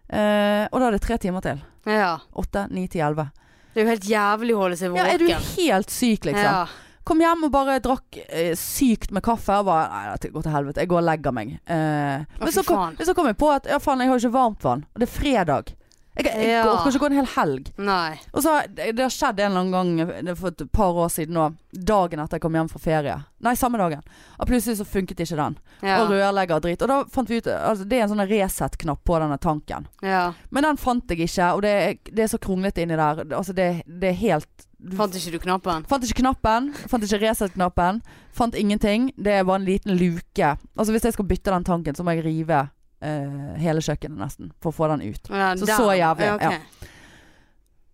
eh, Og da er det tre timer til Ja. 8, 9 til 11 Det er jo helt jævlig å holde seg Ja, er du våken. helt syk liksom? Ja. Kom hjem og bare drakk eh, sykt med kaffe og bare Nei, dette går til helvete. Jeg går og legger meg. Eh, men fy så kom, faen. men så kom jeg på at ja, faen, jeg har jo ikke varmt vann. Og det er fredag. Jeg, jeg, Ja. orker ikke gå en hel helg. Nei. Og så, det, det har skjedd en eller annen gang det er for et par år siden nå. Dagen etter jeg kom hjem fra ferie. Nei, samme dagen. Og plutselig så funket ikke den. Ja. Og rørlegger og drit. Og da fant vi ut altså, Det er en sånn reset-knapp på denne tanken. ja. Men den fant jeg ikke, og det, er- det er så kronglete inni der. Altså, det, det er helt Fant ikke du knappen? Fant ikke knappen, fant ikke reset-knappen. Fant ingenting. Det er bare en liten luke. Altså Hvis jeg skal bytte den tanken, så må jeg rive eh, hele kjøkkenet nesten for å få den ut. Ja, Så der. så jævlig, ok. ja.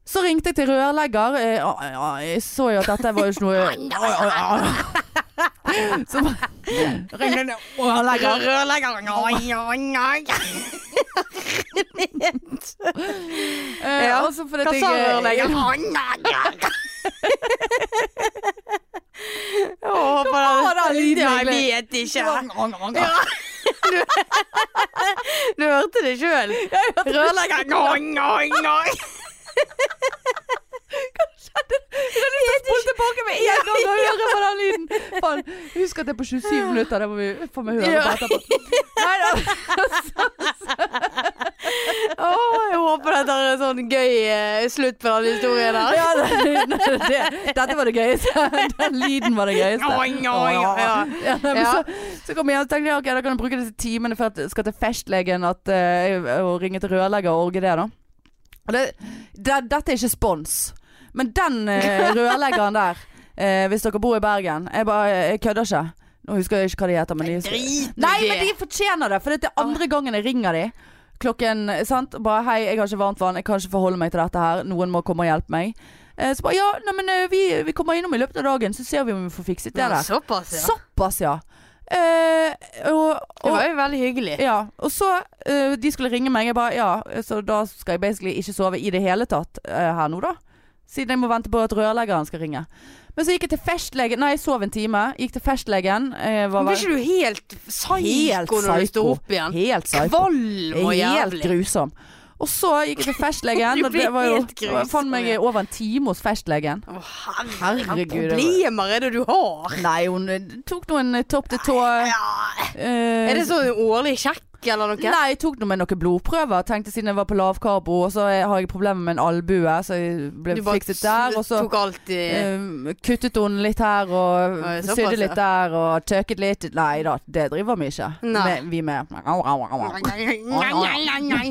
Så ringte jeg til rørlegger. eh, ah, ah, Jeg så jo at dette var jo ikke noe Ah, ah, ah. Så bare- ringte jeg til rørlegger. Rørleggeren. Oi, oi, oi. Eh, Ja. og så fordi Hva at sa jeg, eh, rørleggeren? Jeg håper var den lyden Jeg egentlig? vet ikke. Du hørte det sjøl. Rørleggeren. Oi, oi, oi. Jeg spolte tilbake med en gang og høre på den lyden. Faen, husk at det er på 27 minutter. Det må vi få meg høre på Ja. etterpå. Nei, da. Åh, jeg håper dette er en sånn gøy eh, slutt på den historien der. Ja, det, det, dette var det gøyeste. Den lyden var det gøyeste. Oi, oi, oi, ja. Ja, nei, men Ja. Så, så kom jeg hjem og tenkte ja, ok, da kan jeg bruke disse timene før jeg skal til festlegen at, eh, og ringe til rørlegger og orge det. da og det, det, Dette er ikke spons, men den eh, rørleggeren der, eh, hvis dere bor i Bergen Jeg, bare, jeg kødder ikke. Nå husker jeg ikke hva de heter. Men de, Drit i Nei, det. men de fortjener det, for det er andre gangen jeg ringer de. Klokken, sant? Bare hei, jeg har ikke varmt vann, jeg kan ikke forholde meg til dette her. Noen må komme og hjelpe meg. Eh, Så bare ja, nei, men eh, vi, vi kommer innom i løpet av dagen, så ser vi om vi får fikset det Ja, der. Såpass, ja. Såpass, ja. Eh, og, Det og, var jo veldig hyggelig. ja. og så eh, De skulle ringe meg, jeg bare ja, så da skal jeg basically ikke sove i det hele tatt eh, her nå, da. Siden jeg må vente på at rørleggeren skal ringe. Men så gikk jeg til festlegen. Nei, jeg sov en time. Gikk til festlegen. eh, var Men blir ikke du helt Helt psyko når du står psyko. opp igjen? helt psyko. Kvalm og Helt jævlig. grusom. Og så gikk jeg til festlegen. Du og det ble var jo, helt grusom, jeg fant meg ja. over en time hos festlegen. Å, Herregud, altså. Herregud. det Hva var- problemer er det du har? Nei, hun eh, tok noen eh, topp til tå. Ja. eh, Er det sånn årlig sjekk? sjekk eller noe? Nei, jeg tok nå med noen blodprøver. Tenkte siden jeg var på lavkarbo, og så har jeg problemer med en albue, så jeg ble du bare fikset der. Og så tok alt i eh, kuttet hun litt her, og Oi, såpass, sydde ja. litt der, og tøket litt. Nei da, det driver vi ikke. Nei. Vi- Vi med. Au, au, au, au. Nei, nei, nei, nei.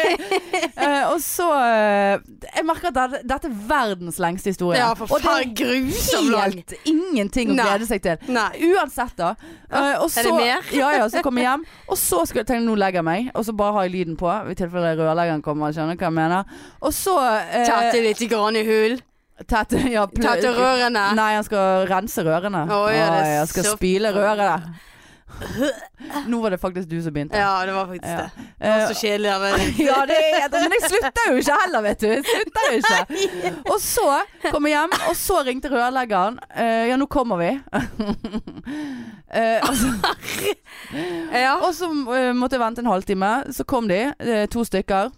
Eh, og så eh, Jeg merker at det, dette er verdens lengste historie. Ja, for og det faen, grusom er lang. helt ingenting å Nei. glede seg til. Nei. Uansett, da. Eh, og Er det så- mer? ja, ja, så kom jeg hjem. Og så skulle jeg tenke nå legger jeg meg, og så bare har jeg lyden på. I tilfelle rørleggeren kommer. Skjønner du hva jeg mener? Og så eh, Tette litt i grann i hull. Tette ja, pl- Tette rørene. Nei, han skal rense rørene. Å, ja, det er jeg skal så- spyle rørene. Nå var det faktisk du som begynte. Ja, det var faktisk Ja. det. Det Eh, var så kjedelig av det. ja, det er helt Men jeg slutter jo ikke heller, vet du. Jeg slutter jo ikke. Og så kom jeg hjem, og så ringte rørleggeren. Eh, ja, nå kommer vi. Eh, og så, Ja. og så eh, måtte jeg vente en halvtime. Så kom de, eh, to stykker.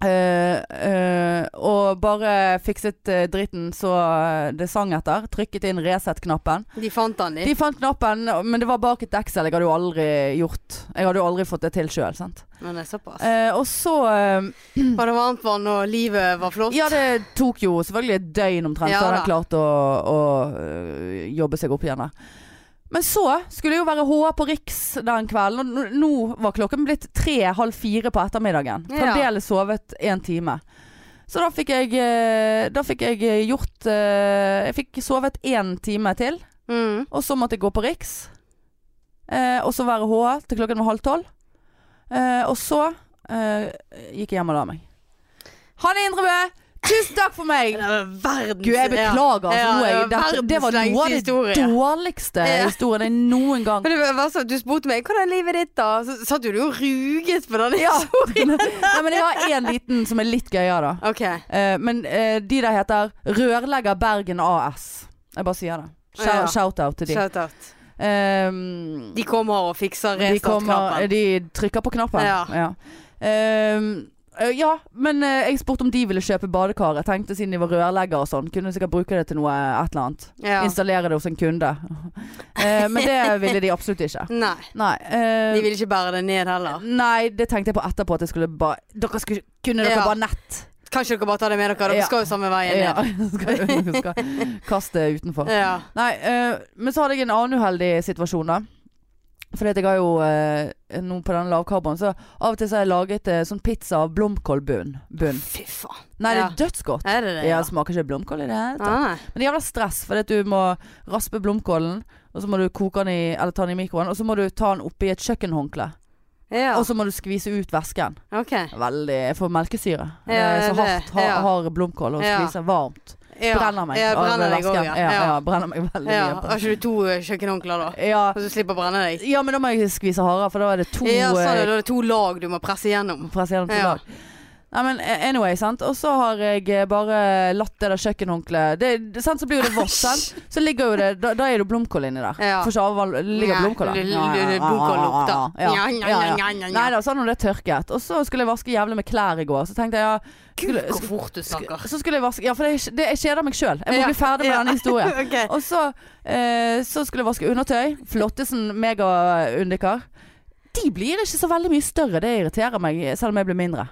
Eh, eh, og bare fikset eh, dritten så eh, det sang etter. Trykket inn reset-knappen. De fant han litt. De fant knappen, men det var bak et deksel. Jeg hadde jo aldri gjort Jeg hadde jo aldri fått det til sjøl. Men det er såpass. Eh, og så eh, Var det varmt vann, og livet var flott? Ja, det tok jo selvfølgelig et døgn omtrent, Ja så hadde da. han klart å, å øh, jobbe seg opp igjen. da. Men så skulle det jo være HA på Riks den kvelden, og nå- nå var klokken blitt tre-halv fire på ettermiddagen. Ja. Fremdeles sovet én time. Så da fikk jeg, eh, da fikk jeg gjort eh, Jeg fikk sovet én time til, Mm. og så måtte jeg gå på Riks. Eh, og så være HA til klokken var halv tolv. Eh, og så eh, gikk jeg hjem og la meg. Hanne Indrebø, tusen takk for meg! Det var verdens Gud, jeg beklager. Altså, Ja, nå er det jeg, var dette, det var verdens noe av lengste det historie. dårligste Ja. historien jeg noen gang Men det var sånn, Du spurte meg hvordan er livet ditt da Så satt jo du og ruget på den. ja. Nei, men Jeg har én liten som er litt gøyere, da. OK. Eh, men eh, de der heter Rørlegger Bergen AS. Jeg bare sier det. Shou- Ja. Shout-out til de. Shout-out. Ehm, De kommer og fikser de, kommer, eh, restartknappen. de trykker på knappen. Ja. Ehm, eh, ja, men eh, jeg spurte om de ville kjøpe badekar. Jeg tenkte siden de var rørlegger og sånn, kunne de sikkert bruke det til noe et eller annet. Ja. installere det hos en kunde. Eh, men det ville de absolutt ikke. Nei. Nei, eh, De vil ikke bære det ned heller. nei, det tenkte jeg på etterpå at jeg skulle bare Dere skulle kunne dere Ja. bare nett. Kanskje dere bare tar det med dere? Dere Ja. skal jo samme veien Ja, ned. skal, skal kaste utenfor. Ja. Nei, eh, men så hadde jeg en annen uheldig situasjon, da. Fordi at jeg har jo eh, nå på den lavkarboen, så av og til så har jeg laget eh, sånn pizza av blomkålbunn. Bunn. Fy faen. Nei, det Ja. er dødsgodt. Er det det? Ja, det smaker ikke blomkål i det hele tatt. Ah, Men det er jævla stress, fordi at du må raspe blomkålen, og så må du koke den i, eller ta den i mikroen, og så må du ta den oppi et kjøkkenhåndkle. ja. Og så må du skvise ut væsken. OK. Veldig Jeg får melkesyre. Det Ja, er så det er hardt det. har, Ja. har blomkål å Ja. skvise varmt. Ja. Brenner meg. Ja, av brenner deg væsken. òg, ja. Ja, ja. ja. brenner meg veldig ja. mye. Har ikke du to eh, kjøkkenhåndklær, da? Ja. Så du slipper å brenne deg? ja, men da må jeg skvise hardere, for da er det to Ja, sånn, eh, ja, da er det to lag du må presse gjennom. presse gjennom to Ja. lag. Nei, men eh, anyway, sant. Og så har jeg eh, bare latt det der kjøkkenhåndkleet det, det- sant, Så blir jo det vått, sant. Så ligger jo det Da, da er det jo blomkål inni der. Ja. For ikke avval ligger blomkål der. Blomkållukter. Ja, ja, ja. Nei Nei da. da, sånn når det er tørket. Og så skulle jeg vaske jævlig med klær i går. Så tenkte jeg ja Gud, skulle, hvor fort du snakker. sk- Så skulle jeg vaske Ja, for det, er- det, jeg kjeder meg sjøl. Jeg må Ja. bli ferdig med Ja. denne historien. Ok. Og så, eh, så skulle jeg vaske undertøy. Flottesen megaundikar. De blir ikke så veldig mye større, det irriterer meg, selv om jeg blir mindre.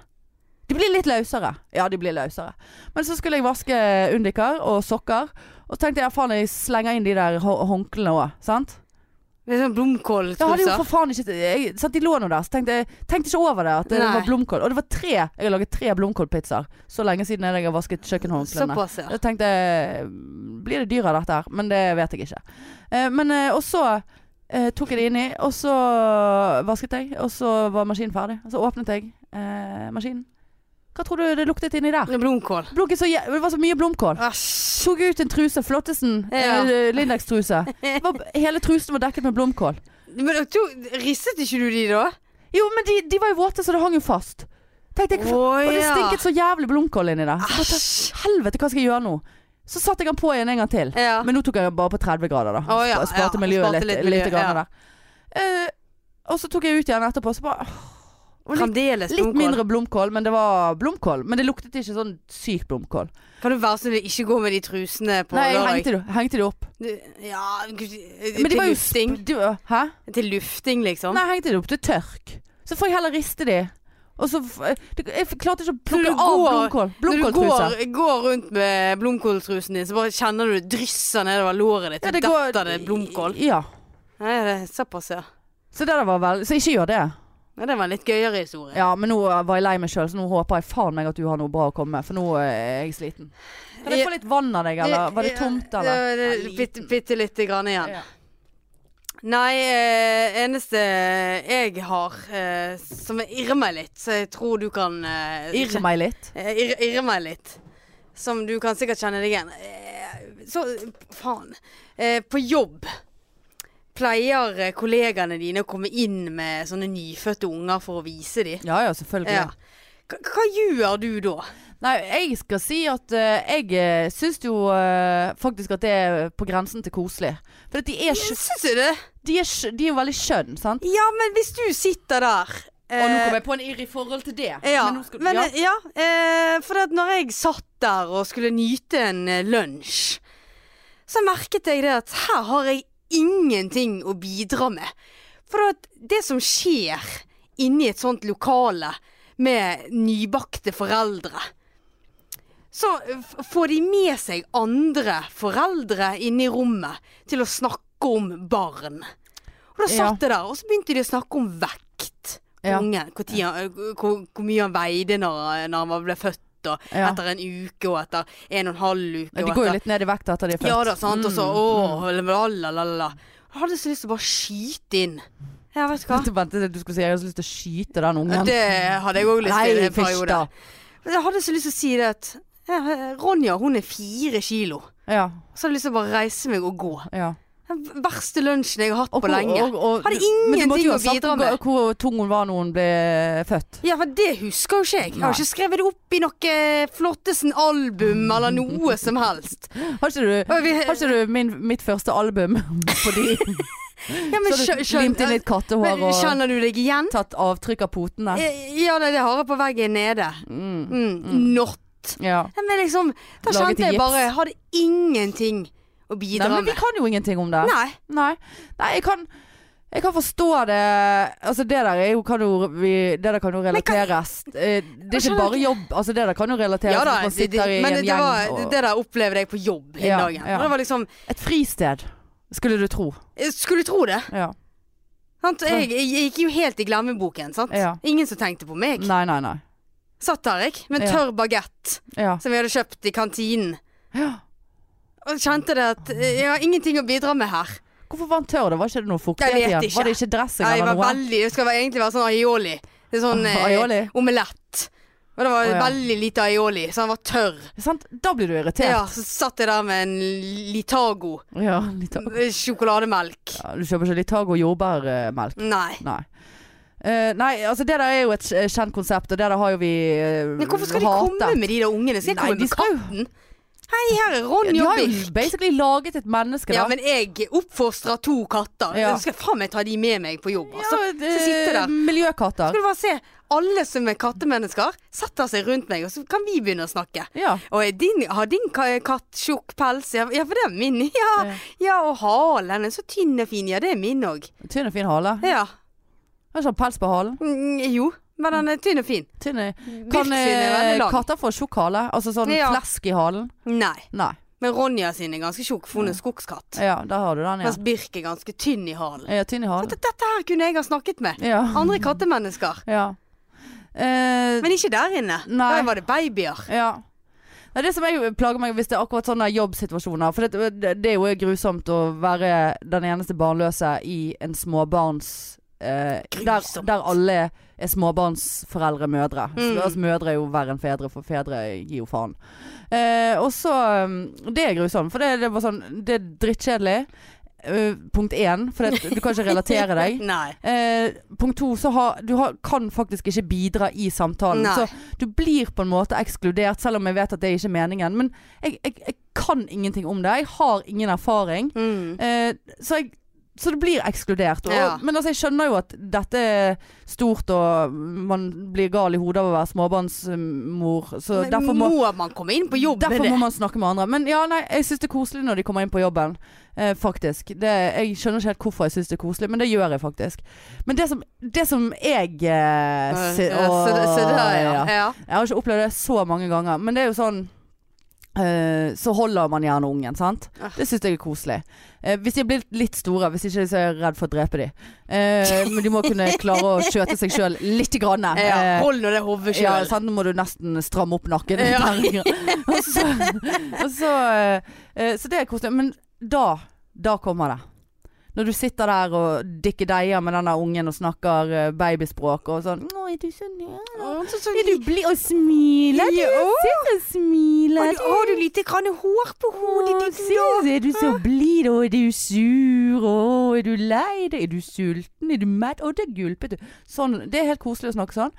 De blir litt løsere. Ja, de blir løsere. Men så skulle jeg vaske undikar og sokker. Og så tenkte jeg faen, jeg slenger inn de der hå- håndklærne òg. Sant? Det er Jeg sånn hadde jo blomkåltruser. for faen ikke jeg, sant, De lå nå der, så tenkte jeg tenkte ikke over det. At det Nei. var blomkål. Og det var tre. Jeg har laget tre blomkålpizzaer. Så lenge siden er det jeg har vasket kjøkkenhåndklærne. Såpass, ja. Jeg tenkte Blir det dyr av dette her? Men det vet jeg ikke. Eh, men eh, Og så eh, tok jeg det inni, og så vasket jeg. Og så var maskinen ferdig. Og så åpnet jeg eh, maskinen. Hva tror du det luktet inni der? Blomkål. Blunket så, jæ- det var så mye blomkål. Æsj. Tok ut en truse. Flottesen. Ja. eh, Lindex-truse. Det var- Hele trusen var dekket med blomkål. Men du, ristet ikke du de, da? Jo, men de, de var jo våte, så det hang jo fast. Tenkte jeg, Å, Og det ja. stinket så jævlig blomkål inni der. Så bare, Æsj. helvete, hva skal jeg gjøre nå? Så satte jeg den på igjen en gang til. Ja. Men nå tok jeg den bare på 30 grader, da. Å, ja, Spa- Sparte ja. miljøet Sparte litt. litt, litt miljø, grann ja. der. Eh, og så tok jeg ut igjen etterpå, så bare åh, Og litt, Fremdeles litt blomkål. mindre blomkål, men det var blomkål. Men det luktet ikke sånn syk blomkål. Kan du være så snill ikke gå med de trusene på Nei, jeg lørdag? hengte det, hengte det opp. Du- Ja Men Til de var jo lufting. sp- de var- Hæ? Til lufting, liksom. Nei, jeg hengte det opp til tørk. Så får jeg heller riste de. Og så f- eh, det- Jeg f- klarte ikke å plukke Når du av går- blomkål. Når du Blomkåltruser. går, eh, går rundt med blomkåltrusen din, så bare kjenner du det drysser nedover låret ditt. Ja, og det går- Datter det blomkål. Ja. Nei, det er såpass, ja. Så det der var vel Så ikke gjør det. Nei, det var en litt gøyere historie. Ja, men nå var jeg lei meg sjøl, så nå håper jeg faen meg at du har noe bra å komme med. For nå eh, er jeg sliten. Kan jeg få litt vann av deg, eller? Var det tomt, eller? Ja, Bitte, bitte lite grann igjen. Ja. Nei, eh, eneste jeg har eh, som irrer meg litt, så jeg tror du kan eh, Irre meg litt. Eh, Irre, irre meg litt. Som du kan sikkert kjenne deg igjen. Eh, Så faen. Eh, På jobb pleier eh, kollegaene dine å komme inn med sånne nyfødte unger for å vise dem. Ja ja, selvfølgelig. Ja. Hva, hva gjør du da? Nei, jeg skal si at eh, jeg syns jo eh, faktisk at det er på grensen til koselig. For at de er, skj- Syns du det? de er, skj- de er jo veldig skjønn, sant? Ja, men hvis du sitter der Og nå kom jeg på en irr i forhold til det. Eh. ja, Men nå skal, men, ja. eh, ja. eh, for at når jeg satt der og skulle nyte en eh, lunsj, så merket jeg det at her har jeg ingenting å bidra med. For at det som skjer inni et sånt lokale med nybakte foreldre, så f- får de med seg andre foreldre inne i rommet til å snakke om barn. Og da Ja. satt jeg der, og så begynte de å snakke om vekt på Ja. ungen. Hvor, tid han, hvor, hvor mye han veide når, når han var- ble født, og Ja. etter en uke, og etter en og en halv uke. Nei, og De går jo etter- litt ned i vekt etter de er født. Ja da, sant. Og så Mm. åh, la, la, la, la. Jeg hadde så lyst til å bare skyte inn. Ja, vet du hva. Du ventet at du skulle si jeg har så lyst til å skyte den ungen. Det hadde jeg òg lyst til i en fysj periode. da. Men Jeg hadde så lyst til å si det at ja, Ronja hun er fire kilo. Ja, Så hadde jeg lyst til å bare reise meg og gå. ja. Den verste lunsjen jeg har hatt Og på hvor- lenge. og- og- Men Hadde du måtte ingenting jo ha å sagt bidra hvor- med. Hvor tung hun var når hun ble født. Ja, for det husker jo ikke jeg. Jeg har Nei. ikke skrevet det opp i noe Flottesen-album eller noe som helst. Har ikke du, Og vi- har ikke du min, mitt første album fordi Ja, men Så har skjø- du skjøn- limt inn litt kattehår Men og Kjenner du deg igjen? tatt avtrykk av potene? Eh, Ja, nei, det har jeg på veggen nede. Mm. Mm. Not. Ja. Ja, Men liksom, da Laget i kjente jeg gips. bare Jeg hadde ingenting å Nei, bidra men vi med. kan jo ingenting om det. Nei. Nei, Nei jeg kan jeg kan forstå det Altså det der er jo, kan jo vi, Det der kan jo kan- relateres Eh, Det er Jeg skjønner ikke bare ikke. jobb Altså det der kan jo relateres Ja hvis da, man det, det, sitter i men en det, gjeng var, og, det der opplevde jeg på jobb den Ja, dagen. ja. Og det var liksom Et fristed Skulle du tro jeg Skulle tro det. Ja Sant? Jeg, jeg, gikk jo helt i glemmeboken. Sant? Ja. Ingen som tenkte på meg. Nei, nei, nei Satt der, jeg, med en Ja. tørr bagett Ja, som vi hadde kjøpt i kantinen. ja. Og kjente det at eh, jeg har ingenting å bidra med her. Hvorfor var han tør? Det var ikke noe fuktighet Jeg vet i den? ikke. Var det ikke dressing Jeg eller var noe? veldig Det skal være- egentlig være sånn aioli. Det er sånn eh, Aioli? omelett. Og det var Å, ja. veldig lite aioli, så han var tørr. Sant? Da blir du irritert. Ja, så satt jeg der med en Litago Ja, Litago. eh, sjokolademelk. Ja, du kjøper ikke Litago jordbærmelk? Nei. Nei. Eh, nei, altså det der er jo et eh, kjent konsept, og det der har jo vi uh, Men hvorfor skal de komme med de der ungene? Skal jeg Nei, komme de med skal jo- katten? Hei, her er Ronja De og har Birk. jo basically laget et menneske, da. Ja, men jeg oppfostrer to katter. Ja. Så skal jeg faen meg ta de med meg på jobb. Altså. Ja, eh, så sitter der. Miljøkatter. Skal du bare se, alle som er kattemennesker, setter seg rundt meg, og så kan vi begynne å snakke. Ja. Og er din, har din ka- katt tjukk pels? Ja, ja, for det er min. Ja, Ja. ja. og halen er så tynn og fin. Ja, det er min òg. Tynn og fin hale. Ja. Har ikke han pels på halen? Mm, jo, men den er tynn og fin. Tynn er- Birk Kan sin er eh, veldig lang. katter få tjukk hale? Altså sånn Ja. flesk i halen? Nei. Nei. Men Ronja sin er ganske tjukk, for hun er skogskatt. Ja, der har du den, ja. Mens Birk er ganske tynn i halen. ja tynn i halen. Dette her kunne jeg ha snakket med. Ja. Andre kattemennesker. ja. Eh, Men ikke der inne. Nei. Der var det babyer. Ja. Det er det som jeg plager meg hvis det er akkurat sånne jobbsituasjoner. For det, det, det er jo grusomt å være den eneste barnløse i en småbarns... Eh, der, Grusomt. der alle er småbarnsforeldre mødre. Mm. Altså, mødre er jo verre enn fedre, for fedre gir jo faen. Eh, og så um, Det er grusomt, for det, det, var sånn, det er drittkjedelig. Eh, punkt én, for det, du kan ikke relatere deg. Nei. Eh, punkt to, så har, du har, kan faktisk ikke bidra i samtalen. Nei. Så du blir på en måte ekskludert, selv om jeg vet at det ikke er meningen. Men jeg, jeg, jeg kan ingenting om det. Jeg har ingen erfaring. Mm. Eh, så jeg så det blir ekskludert. Og, Ja. Men altså, jeg skjønner jo at dette er stort, og man blir gal i hodet av å være småbarnsmor. Så Men derfor må, man komme inn på jobb med derfor det? må man snakke med andre. Men ja, nei, jeg syns det er koselig når de kommer inn på jobben. Eh, faktisk. Det, jeg skjønner ikke helt hvorfor jeg syns det er koselig, men det gjør jeg faktisk. Men det som, det som jeg eh, Ja, sy- så, det- så der, ja. Åh, ja. jeg har ikke opplevd det så mange ganger, men det er jo sånn eh, så holder man gjerne ungen, sant? Ah. Det syns jeg er koselig. Eh, hvis de er blitt litt store, hvis ikke så er jeg redd for å drepe de. Eh, men de må kunne klare å skjøte seg sjøl lite grann. ja. Eh, Hold nå det hodet ja, sjøl. sant? Nå må du nesten stramme opp nakken. Ja. og så, og så, eh, så det er koselig. Men da, da kommer det. Når du sitter der og dikker deier med den der ungen og snakker eh, babyspråk og sånn Nå er du så nær. Er du blid og smiler? Du Ja. sitter og smiler. du. Har du lite grann hår på hodet Å, ditt? se, Er du så blid, og er du sur, og er du lei deg, er du sulten, er du mett, og det gulpet du. Sånn, det er helt koselig å snakke sånn.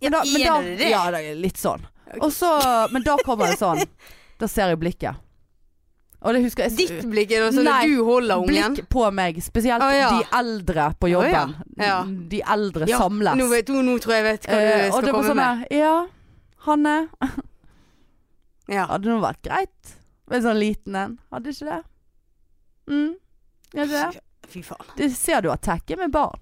Men da- men er da- det det? Ja, det er litt sånn. Og så, men da kommer det sånn. Da ser jeg blikket. Og det husker jeg Ditt blikk er det sånn Nei, at du holder ungen. Blikk på meg, spesielt Å, ja. de eldre på jobben. Å, ja. Ja. De eldre Ja, samles. Nå, vet, nå tror jeg jeg vet hva du Eh, og skal det var komme sånn med. der, Ja, Hanne, Ja. Hadde det nå vært greit med en sånn liten en? Hadde ikke det? Mm. Gjør det? det? Fy faen. Det ser du har tacket med barn.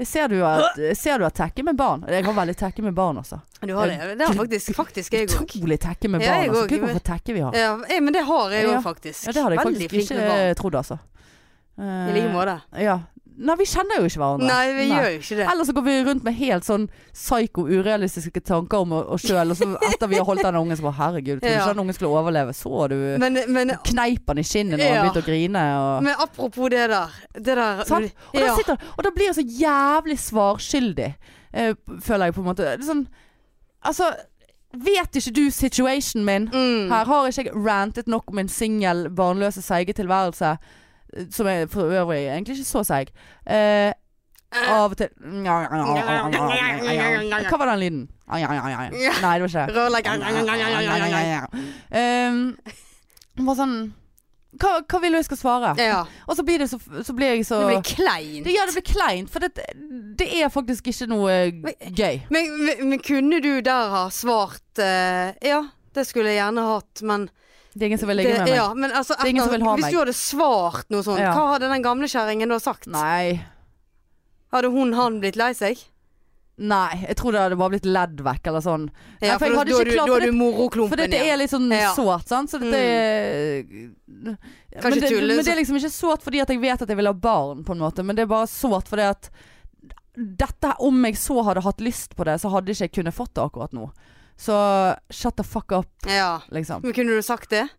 Jeg ser du har, jeg ser du har tacket med barn. Jeg har veldig tacket med barn, altså. Du har det. Det har faktisk, faktisk jeg òg. Utrolig tacket med Ja, barn. jeg altså. òg, Gud, men- hvorfor tacket vi har. Ja, eh, men det har jeg òg, Ja. faktisk. Ja, det hadde jeg Veldig faktisk flink med barn. ikke eh, trodd, altså. I like måte. Ja. Nei, vi kjenner jo ikke hverandre. Nei, vi gjør jo ikke det. Eller så går vi rundt med helt sånn psyko-urealistiske tanker om oss sjøl, og så etter vi har holdt den ungen, så bare herregud, trodde Ja. ikke den ungen skulle overleve. Så du Men, men, kneip han i kinnet når han Ja. begynte å grine. Og, men apropos det der. Det der Sant? og, da Ja. sitter, han- og da blir jeg så jævlig svarskyldig, eh, føler jeg på en måte. Det er sånn, altså, vet ikke du situationen min? Mm. Her har ikke jeg rantet nok om min singel, barnløse, seige tilværelse. eh, Som er for øvrig egentlig ikke så seig. Eh, av og til Eh. Hva var den lyden? Nei, det var ikke det. Rørlegger Um, bare sånn hva, hva vil du jeg skal svare? Ja. Og så blir, det så, så blir jeg så Det blir kleint. det, Ja, det blir kleint, for det, det er faktisk ikke noe eh, gøy. Men, men, men kunne du der ha svart eh, Ja, det skulle jeg gjerne hatt, men Det er ingen som vil ligge det- med meg. Ja, men altså, er ingen som etter- vil ha Hvis meg. du hadde svart noe sånt, Ja. hva hadde den gamle kjerringen da sagt? Nei. Hadde hun han blitt lei seg? Nei, jeg tror det hadde bare blitt ledd vekk eller sånn. Nei, Ja, for jeg da hadde da ikke er du, klart- da for er det- du For moroklumpen dette er litt sånn Ja. Mm. sårt, sant. Så dette er men det, tulle, men det så- er liksom ikke sårt fordi at jeg vet at jeg vil ha barn, på en måte. Men det er bare sårt fordi at dette, om jeg så hadde hatt lyst på det, så hadde ikke jeg kunnet fått det akkurat nå. Så shut the fuck up, Ja. liksom. Men kunne du sagt det?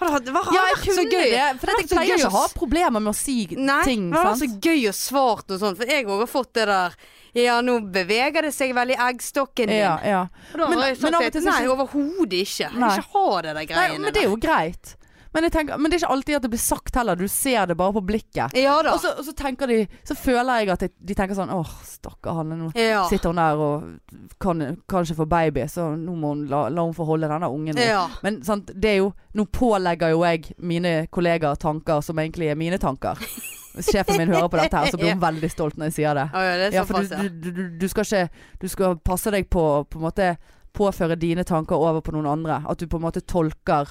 Hadde, hadde, hva hadde Ja, jeg vært så kunne gøy? det. For jeg vært så pleier gøy ikke å å ha s- problemer med å si Nei, ting. det hadde vært sant? så gøy å svart noe sånt, for jeg òg har fått det der Ja, nå beveger det seg vel i eggstokken din. Ja, ja. Og da Men- har jeg men sagt av og at til så- nei, overhodet ikke. Jeg Nei. vil ikke ha det der Nei, greiene. men det er jo greit. Men, jeg tenker, men det er ikke alltid at det blir sagt heller. Du ser det bare på blikket. der. Ja da. Og så, og så tenker de Så føler jeg at de, de tenker sånn Åh, stakkar Hanne. Nå ja. sitter hun der og kan, kan ikke få baby, så nå må hun la, la hun få holde denne ungen. nå. Ja. Men sant, det er jo Nå pålegger jo jeg mine kollegaer tanker som egentlig er mine tanker. Hvis sjefen min hører på dette her, så blir hun veldig stolt når jeg sier det. Å ja, det er Ja, for såpass, du, du, du, du skal ikke Du skal passe deg på å på en måte påføre dine tanker over på noen andre. At du på en måte tolker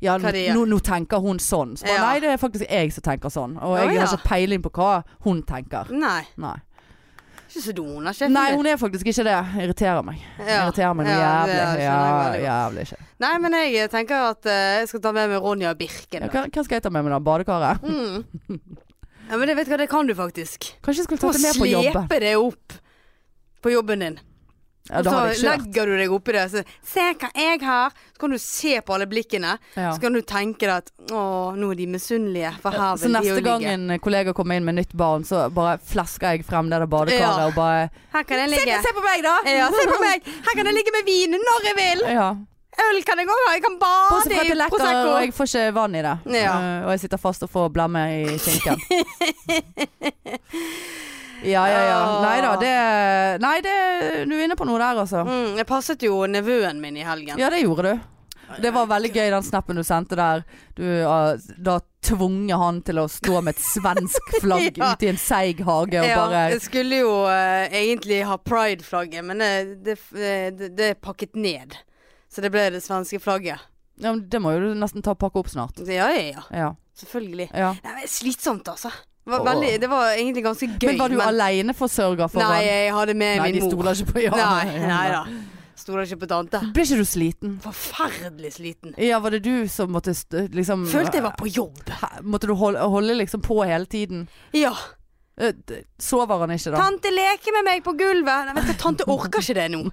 Ja, nå, Hva de gjør. nå, nå tenker hun sånn. Så bare, Ja. Nei, det er faktisk jeg som tenker sånn. Og Å, jeg ja. har ikke peiling på hva hun tenker. ja. Nei. Nei. Ikke så dum, da, sjefen Nei, din. hun er faktisk ikke det. Irriterer meg. Ja. Irriterer meg noe Ja, det jævlig. skjønner jeg Ja, veldig godt. jævlig ikke. Nei, men jeg tenker at eh, jeg skal ta med meg Ronja og Ja, Birken. da. hva, hva skal jeg ta med meg da? Badekaret? Mm. ja, men jeg vet hva, det kan du faktisk. Kanskje jeg skulle Få tatt det med på jobben? slepe det opp på jobben din. Ja, Og da så hadde jeg ikke vært. legger du deg oppi det. Så, se hva jeg har! Så kan du se på alle blikkene. Ja. Så kan du tenke deg at å, nå er de misunnelige, for her Så vil de jo neste gang ligge. en kollega kommer inn med nytt barn, så bare flasker jeg frem det der badekaret Ja. og bare Her kan jeg se, ligge. se på meg, da! Ja, se på meg! Her kan jeg ligge med vin når jeg vil! Ja. Øl kan jeg òg ha! Jeg kan bade Bortsett fra at det i lekker, Prosecco! og jeg får ikke vann i det. Ja. Eh, og jeg sitter fast og får blemme i skinken. ja, ja, ja. Ah. Nei da, det Nei, det, du er inne på noe der, altså. Mm, jeg passet jo nevøen min i helgen. Ja, det gjorde du. Det var veldig gøy den snappen du sendte der. Du har da tvunget han til å stå med et svensk flagg Ja. ute i en seig hage og Ja, bare jeg skulle jo eh, egentlig ha pride-flagget, men eh, det, eh, det, det er pakket ned. Så det ble det svenske flagget. ja, men Det må jo du nesten ta og pakke opp snart. Så ja, ja, ja. Ja. Selvfølgelig. ja. Nei, men slitsomt, altså. Det var, Åh. veldig, det var egentlig ganske gøy. Men var du aleneforsørger for Nei, han? jeg hadde med Nei, de min mor. stoler ikke på ja. Nei, nei da. Stoler ikke på tante. Ble ikke du sliten? Forferdelig sliten. Ja, var det du som måtte st- liksom Følte jeg var på jobb. Hæ? Måtte du holde, holde liksom på hele tiden? Ja. Eh, d- Sover han ikke da? Tante leker med meg på gulvet. Nei, vet du, tante orker ikke det nå.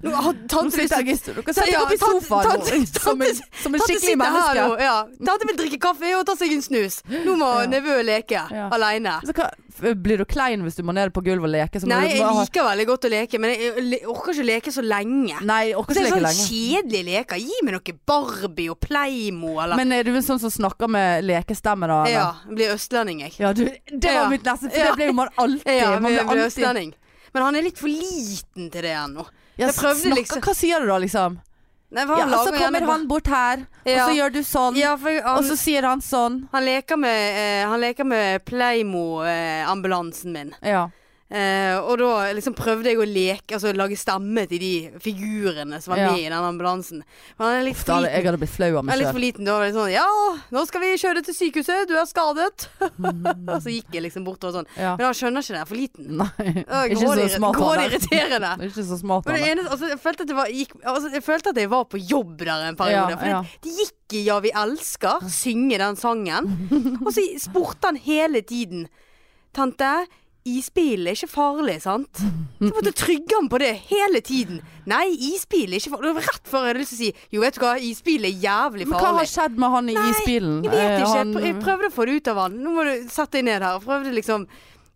Nå har Nå tante lyst sitter til jeg i sto- Du kan sette deg Ja, opp i tante- sofaen nå, tante- som, en, tante- som en Tante skikkelig sitter her menneske. nå. Ja. Tante vil drikke kaffe og ta seg en snus. Nå må Ja. nevø leke Ja. aleine. Så Altså, hva, f- blir du klein hvis du må ned på gulvet og leke? Så må Nei, du, jeg må ha- liker veldig godt å leke, men jeg jeg orker ikke å leke så lenge. Nei, jeg orker Det ikke er leke sånn lenge. kjedelige leker. Gi meg noe Barbie og Playmo eller Men er du en sånn som snakker med lekestemme, da? eller? Ja, jeg blir østlending, jeg. Ja, du, det var Ja. mitt neste, for Ja. det ble jo man alltid. Ja, man jeg blir blir alltid østlending. Men han er litt for liten til det ennå. ja, Jeg prøvde snakker, liksom- Hva sier du da, liksom? Nei, for Ja, han så lager kommer gjerne han bort her, Ja. og så gjør du bare- sånn, Ja, for og han, så sier han sånn. han leker med, eh, han leker med Playmo-ambulansen min. Ja. Eh, og da liksom prøvde jeg å leke, altså lage stemme til de figurene som var Ja. med i den ambulansen. Men han er litt Uff, for da hadde- liten. jeg hadde blitt flau av Han er meg litt sjøl. for liten, da var det sånn Ja, nå skal vi kjøre til sykehuset, du er skadet. Og så gikk jeg liksom bort og sånn. Ja. Men han skjønner ikke det, er for liten. Nei. Mm. Å, Ikke så grådig- smart av grådig deg. irriterende. Det er ikke så smart av Men det meg. eneste, altså, jeg, følte at det var, gikk, altså, jeg følte at jeg var på jobb der en periode. Ja, for det- ja. det gikk i Ja, vi elsker, synge den sangen. Og så spurte han hele tiden. Tante, isbilen er ikke farlig, sant? Så jeg måtte trygge ham på det hele tiden. Nei, isbilen er ikke farlig. Det var rett før jeg hadde lyst til å si jo, vet du hva, isbilen er jævlig Men hva har farlig. skjedd med han i isbilen? Jeg vet Eh, ikke. Jeg han- prø- Jeg prøvde å få det ut av han. Nå må du sette deg ned her. Jeg Prøvde liksom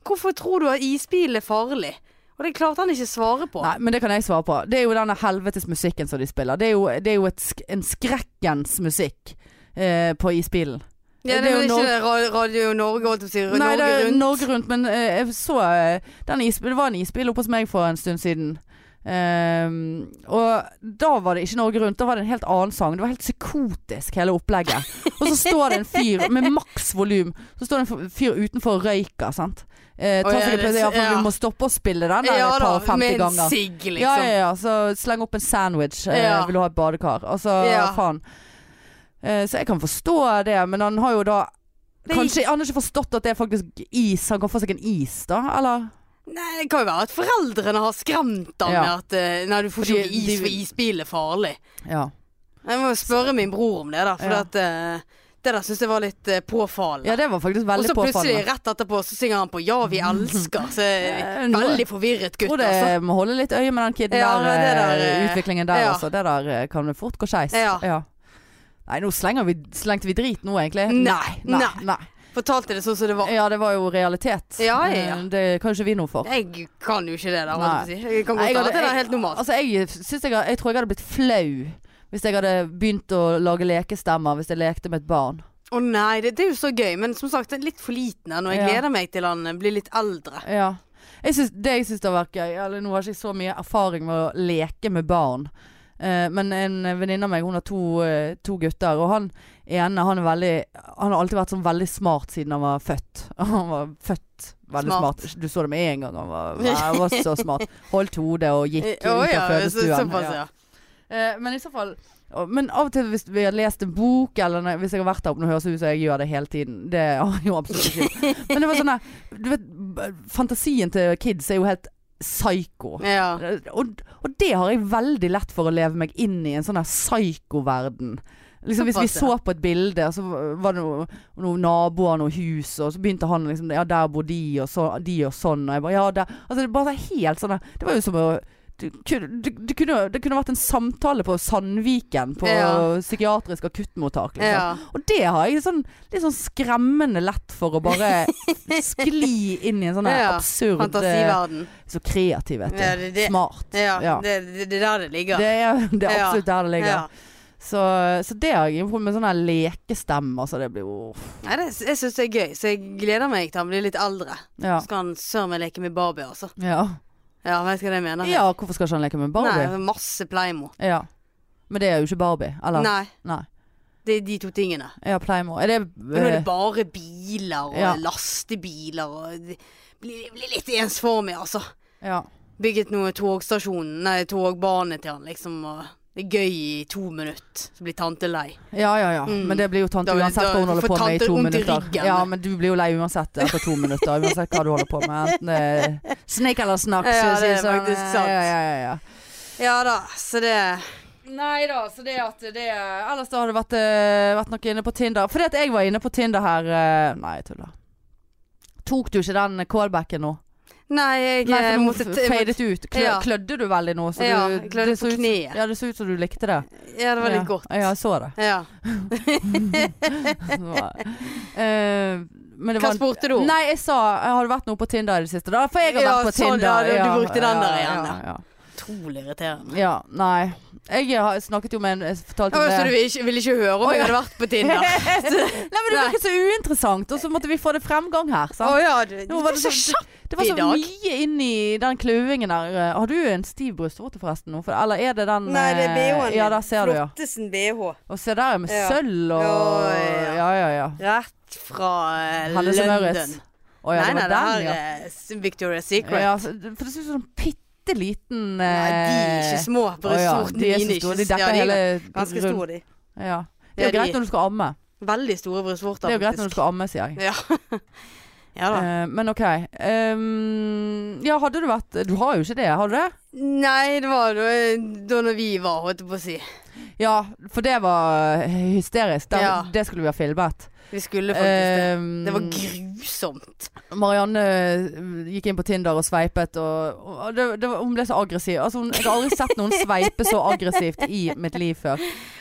Hvorfor tror du at isbilen er farlig? Og det klarte han ikke svare på. Nei, men det kan jeg svare på. Det er jo denne helvetes musikken som de spiller. Det er jo, det er jo et, sk- en skrekkens musikk eh, på isbilen. Ja, det, Det er jo er jo Nor- ikke Ra- Radio Norge, holdt jeg på å si. Nei, Norge det er Rundt. Norge rundt, men eh, jeg så eh, den isbil, Det var en isbil oppe hos meg for en stund siden. Ehm, og da var det ikke Norge Rundt, da var det en helt annen sang. Det var helt psykotisk, hele opplegget. Og så står det en fyr med maks volum. Så står det en fyr utenfor og røyker, sant. Eh, tar Å, ja, sikkert på det- det, ja, for ja. du må stoppe å spille den der ja, et par og da, femti med en ganger. sigg, liksom. Ja, ja, ja. Så sleng opp en sandwich. Eh, Ja. Vil du ha et badekar? Altså, Ja. faen. Eh, så jeg kan forstå det, men han har jo da Det Kanskje han har ikke forstått at det er faktisk is. Han kan få seg en is, da? Eller? Nei, det kan jo være at foreldrene har skremt ham Ja. med at eh, Nei, du får Fordi ikke is, de- for isbil er farlig. Ja. Jeg må jo spørre min bror om det, da. For Ja. at, eh, det der syns jeg var litt eh, påfallende. ja, det var faktisk og veldig så plutselig, påfallende. rett etterpå, så synger han på Ja, vi elsker. Så Eh, nå- veldig forvirret Jeg gutt, tror det altså. må holde litt øye med den kiden Ja, der, det der, eh, eh, Utviklingen der, ja. altså. Det der eh, kan fort gå skeis. Ja. Nei, nå slenger vi, slengte vi drit nå, egentlig. Nei, Nei. nei. Fortalte det sånn som det nei. var. Ja, det var jo realitet. Ja, ja, ja. Eh, Det kan jo ikke vi noe for. Jeg kan jo ikke det der, holdt jeg på å si. Jeg kan Nei, godt jeg ta hadde- det der helt normalt. Altså, jeg, synes jeg, jeg tror jeg hadde blitt flau hvis jeg hadde begynt å lage lekestemmer hvis jeg lekte med et barn. Å nei, det, det er jo så gøy, men som sagt, det er litt for liten ennå. Ja. Jeg gleder meg til han eh, blir litt eldre. Ja. Jeg synes, det jeg syns har vært gøy eller Nå har ikke jeg så mye erfaring med å leke med barn. Eh, men en venninne av meg Hun har to, eh, to gutter, og han ene han, er veldig, han har alltid vært sånn veldig smart siden han var født. Han var født veldig Smart. smart. Du så det med en gang. Han var, han var så smart. Holdt hodet og gikk Eh, ut å av ja, så- fødestuen. Såpass, ja. Eh, men i så fall og- Men av og til hvis vi har lest en bok, eller når- hvis jeg har vært der oppe Nå høres det ut som jeg gjør det hele tiden. Det har jeg jo absolutt ikke. gjort. Men det var sånn der Du vet, b- fantasien til kids er jo helt psyko. ja. Og, og det har jeg veldig lett for å leve meg inn i, en sånn her psyko-verden. Liksom, hvis vi Såpass, ja. så på et bilde, og så var det noen noe naboer, noen hus, og så begynte han liksom Ja, der bor de, og så, de og sånn, og jeg bare Ja, der Altså, det var helt sånn der- Det var jo som å du, kunne- du, du kunne, det kunne vært en samtale på Sandviken, på Ja. psykiatrisk akuttmottak. Liksom. Ja. Og det har jeg sånn, litt sånn skremmende lett for å bare skli inn i en sånn her Ja, absurd eh, Fantasiverden. Så kreativ, vet du. Ja, det er det. Smart. Ja, Ja. Det, det, det er der det ligger. Det er, det er Ja. absolutt der det ligger. Ja. Så, så det har jeg gjort med sånn her lekestemme. Altså det blir jo Nei, det, jeg syns det er gøy, så jeg gleder meg til han blir litt eldre. Ja. Så skal han søren meg leke med Barbie, altså. Ja. Ja, vet du hva jeg mener? ja, hvorfor skal ikke han leke med Nei, Barbie? masse Playmo. Ja. Men det er jo ikke Barbie. Eller? Nei, Nei. det er de to tingene. Ja, Playmo. Er det Men nå er eh, det bare biler og ja. lastebiler og det blir, blir litt ensformig, altså. Ja. Bygget noe togstasjon, nei, togbane til han, liksom. Og det er gøy i to minutter, så blir tante lei. Ja, ja, ja. Mm. Men det blir jo tante Da- uansett hva da hun holder får på med i tante to vondt i minutter. ryggen. ja, men du blir jo lei uansett etter to minutter. Uansett hva du holder på med. Enten det er snikk eller snakk. Ja, så å si det er sånn. faktisk sant. Ja, ja, ja, ja. Ja da, så det Nei da, så det at det Ellers da har det vært, eh, vært noe inne på Tinder. Fordi at jeg var inne på Tinder her eh, Nei, jeg tuller. Tok du ikke den callbacken nå? Nei, jeg Nei, eh, for nå måtte t- jeg måtte- fadet ut. Klø, Ja. Klødde du veldig nå? Ja, du, jeg klødde det så på ut- kneet. Ja, det så ut som du likte det. Ja, det var ja. litt godt. Ja, jeg så det. Ja. Det var- Eh, men det Hva var en- spurte du om? Nei, jeg sa Har det vært noe på Tinder i det siste? Da? For jeg har Ja, vært på sånn, Tinder. ja, du- du brukte den der igjen, Ja, ja. Utrolig irriterende. ja, nei. Jeg har snakket jo med en jeg fortalte Ja, om så du det. vil ikke, vil ikke høre om Å, jeg ja. hadde vært på Tinder? altså? Nei, men det Nei. virket så uinteressant, og så måtte vi få det fremgang her. Å Sant? ja, du, Nå det var er det så sånn- kjapt. Det var i så dag. mye inni den kløingen der. eh. Har du en stiv brystvorte forresten nå? For, eller er det den eh, Ja, der ser du, ja. Flottesen BH. Og se der er med Ja. sølv og Ja, ja, ja. Ja, ja, ja. Rett fra eh, Helles og Maurits. London. Å ja, nei, det var nei, det den, her ja. er s- Victoria's Secret. Ja, så- for det ser ut som en bitte liten eh, Nei, de er ikke små. Brystvortene de er mine så er store. ikke De s- dekker ja, de er hele Ganske rundt- store, de. Ja. Det er jo Ja, de- greit når du skal amme. Veldig store brystvorter, Det er jo greit når du faktisk. skal amme, sier jeg. Ja da. Eh, men OK. Ehm, ja, hadde du vært Du har jo ikke det, har du det? Nei, det var da, da når vi var, holdt jeg på å si. Ja, for det var eh, hysterisk. Det, Ja. det skulle vi ha filmet. Vi skulle faktisk det. Ehm, Det var grusomt. Marianne eh, gikk inn på Tinder og sveipet, og, og det, det var, hun ble så aggressiv. Altså, hun, jeg har aldri sett noen sveipe så aggressivt i mitt liv før.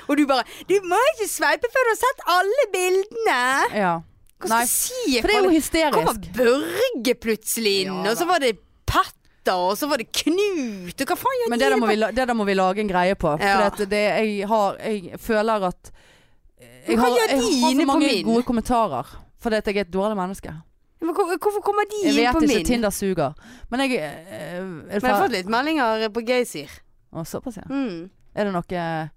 Og du bare 'Du må ikke sveipe før du har sett alle bildene'. Ja. Hva Nei, skal jeg si? For det er jo Kommer hysterisk. Børge plutselig inn, Ja og så da. var det Petter, og så var det Knut, og hva faen gjør Men de det der, må på- vi, la- det der må vi lage en greie på. Ja. For det, at det, jeg, har, jeg føler at Jeg Hva har, gjør jeg de har inne så på mange min? gode kommentarer. Fordi at jeg er et dårlig menneske. Men hvor- Hvorfor kommer de Jeg inn vet på ikke. min? Tinder suger. Men jeg eh, er Men jeg har fått ferdig? litt meldinger på Geysir. Å, Såpass, ja. Mm. Er det noe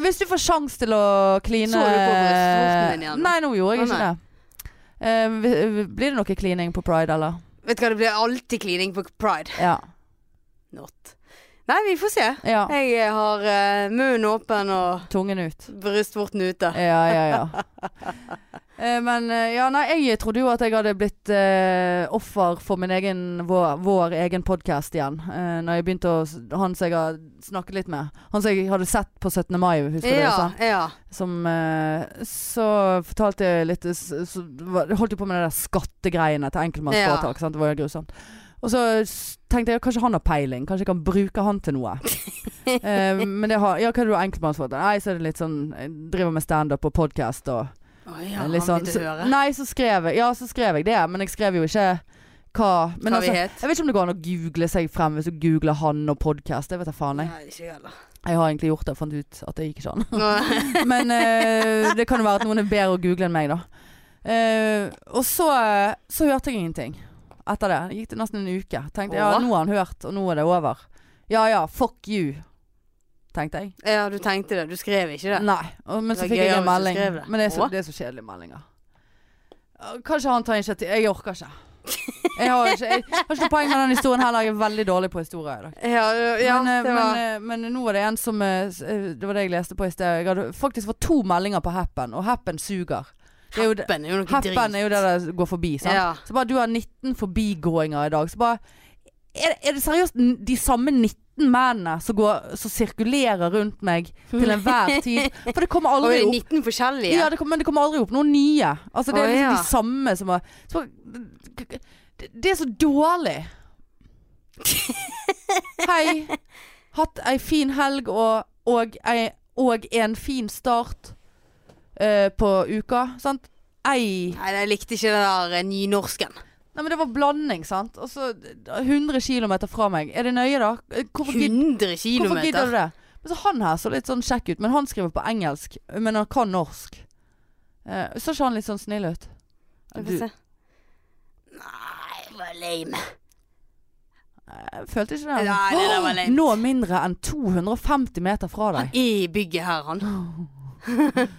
Hvis du får sjans til å kline Så du på brystvorten din igjen nå? Nei, nå gjorde jeg Å, ikke det. nei. Eh, vi- blir det noe klining på pride, eller? Vet du hva, det blir alltid klining på pride. Ja. Not. Nei, vi får se. ja. Jeg har eh, munnen åpen og Tungen ut. brystvorten ute. Ja, ja, ja. Eh, Men eh, ja, nei, jeg trodde jo at jeg hadde blitt eh, offer for min egen, vår, vår egen podkast igjen. Eh, når jeg begynte å s- Han som jeg har snakket litt med. Han som jeg hadde sett på 17. mai, husker du? sånn? Ja, sant? ja. Som eh, Så fortalte jeg litt s- Så var- holdt jeg på med de der skattegreiene til enkeltmannsforetak. sant? Det var jo grusomt. Og så s- tenkte jeg kanskje han har peiling, kanskje jeg kan bruke han til noe. Eh, men det har Ja, hva er det du har enkeltmannsforetak? Nei, så er det litt sånn jeg Driver med standup og podkast og Å ja, litt sånn. han vil Så, du høre. nei, så skrev jeg Ja, så skrev jeg det, men jeg skrev jo ikke hva men hva altså, vi het. Jeg vet ikke om det går an å google seg frem hvis du googler han og podkast. Det vet jeg faen, jeg. Nei, ikke jeg heller. Jeg har egentlig gjort det og fant ut at det gikk ikke an. Nå- Men eh, det kan jo være at noen er bedre å google enn meg, da. Eh, og så, så hørte jeg ingenting etter det. Det gikk det nesten en uke. Tenkte ja, Åh. nå har han hørt, og nå er det over. Ja ja, fuck you, tenkte jeg. Ja, du tenkte det. Du skrev ikke det. Nei. Og, men Det så var fikk jeg gøyere en hvis du melding. skrev det. Men det er, så, Åh. det er så kjedelige meldinger. Eh, Kanskje han tar initiativ. Jeg orker ikke. Jeg har ikke, jeg har ikke noe poeng med den historien heller. Jeg er veldig dårlig på historier i dag. Ja, ja men, eh, det var men, eh, men nå var det en som eh, s- eh, Det var det jeg leste på i sted. Jeg hadde faktisk fått to meldinger på Happen, og Happen suger. Det er jo det, Happen er jo noe drit. happen er jo det der går forbi, sant. Ja. Så bare du har 19 forbigåinger i dag. Så bare Er, er det seriøst n- de samme 19 mennene som, går, som sirkulerer rundt meg til enhver tid? For det kommer Og aldri er det opp. 19 forskjellige? Ja, det kom, men det kommer aldri opp noen nye. Altså, det er Å, liksom ja. de samme som har så, det, det er så dårlig. Hei. Hatt ei fin helg og, og, ei, og en fin start eh, på uka. Sant? Ei Nei, jeg likte ikke det der eh, nynorsken. Nei, men det var blanding, sant. Og så 100 km fra meg. Er det nøye, da? Hvorfor gidder 100 Hvorfor gidder du kilometer. det? Men så han her så litt sånn kjekk ut, men han skriver på engelsk. Men han kan norsk. Eh, så ikke han litt sånn snill ut? Jeg får Du, se. Nei, det var lame. Jeg følte ikke det. Nei, det der var lame. Nå mindre enn 250 meter fra deg. I bygget her, han.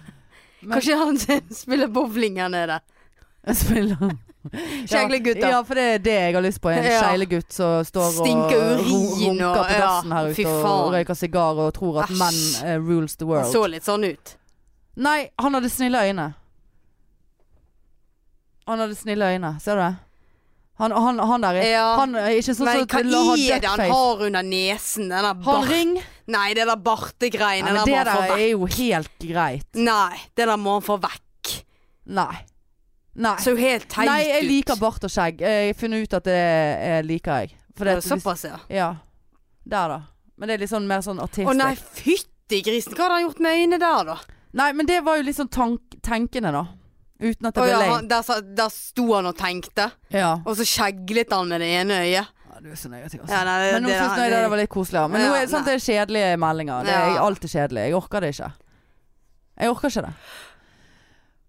Kanskje han spiller bowling her nede. Jeg spiller Skjeglegutt, da. Ja, for det er det jeg har lyst på. En Ja. skjeglegutt som står og Stinker ro- urin og- runker på ja, dassen her fy ute og faen. røyker sigar og tror at Æsj. menn eh, rules the Han world. så litt sånn ut. Nei, han hadde snille øyne. Han hadde snille øyne, ser du det? Han, han, han der er- Ja. Han er ikke sånn Men som hva la- har er det han duckface. har under nesen? Den der Har han bart... ring? Nei, det der bartegreiene. Nei, men den det må han få der vekk. er jo helt greit. Nei, det der må han få vekk. Nei. Nei. Så helt teit ut. Nei, jeg liker bart og skjegg. Jeg har funnet ut at det eh, liker jeg. For det. det, liksom- er Såpass, ja. Ja. Der, da. Men det er litt sånn mer sånn artistisk. Å nei, fytti grisen. Hva hadde han gjort med øynene der, da? Nei, men det var jo litt sånn tank tenkende, da. Uten at det ble Å, ja, lame. han, der, sa- der sto han og tenkte, Ja. og så skjeglet han med det ene øyet. ja, du er så negativ, altså. Ja, nei, det, men nå det- syns jeg det, det- var litt koseligere. Men nå Ja, er det, sant, det nei. er kjedelige meldinger. Det er Ja. alltid kjedelig. Jeg orker det ikke. Jeg orker ikke det.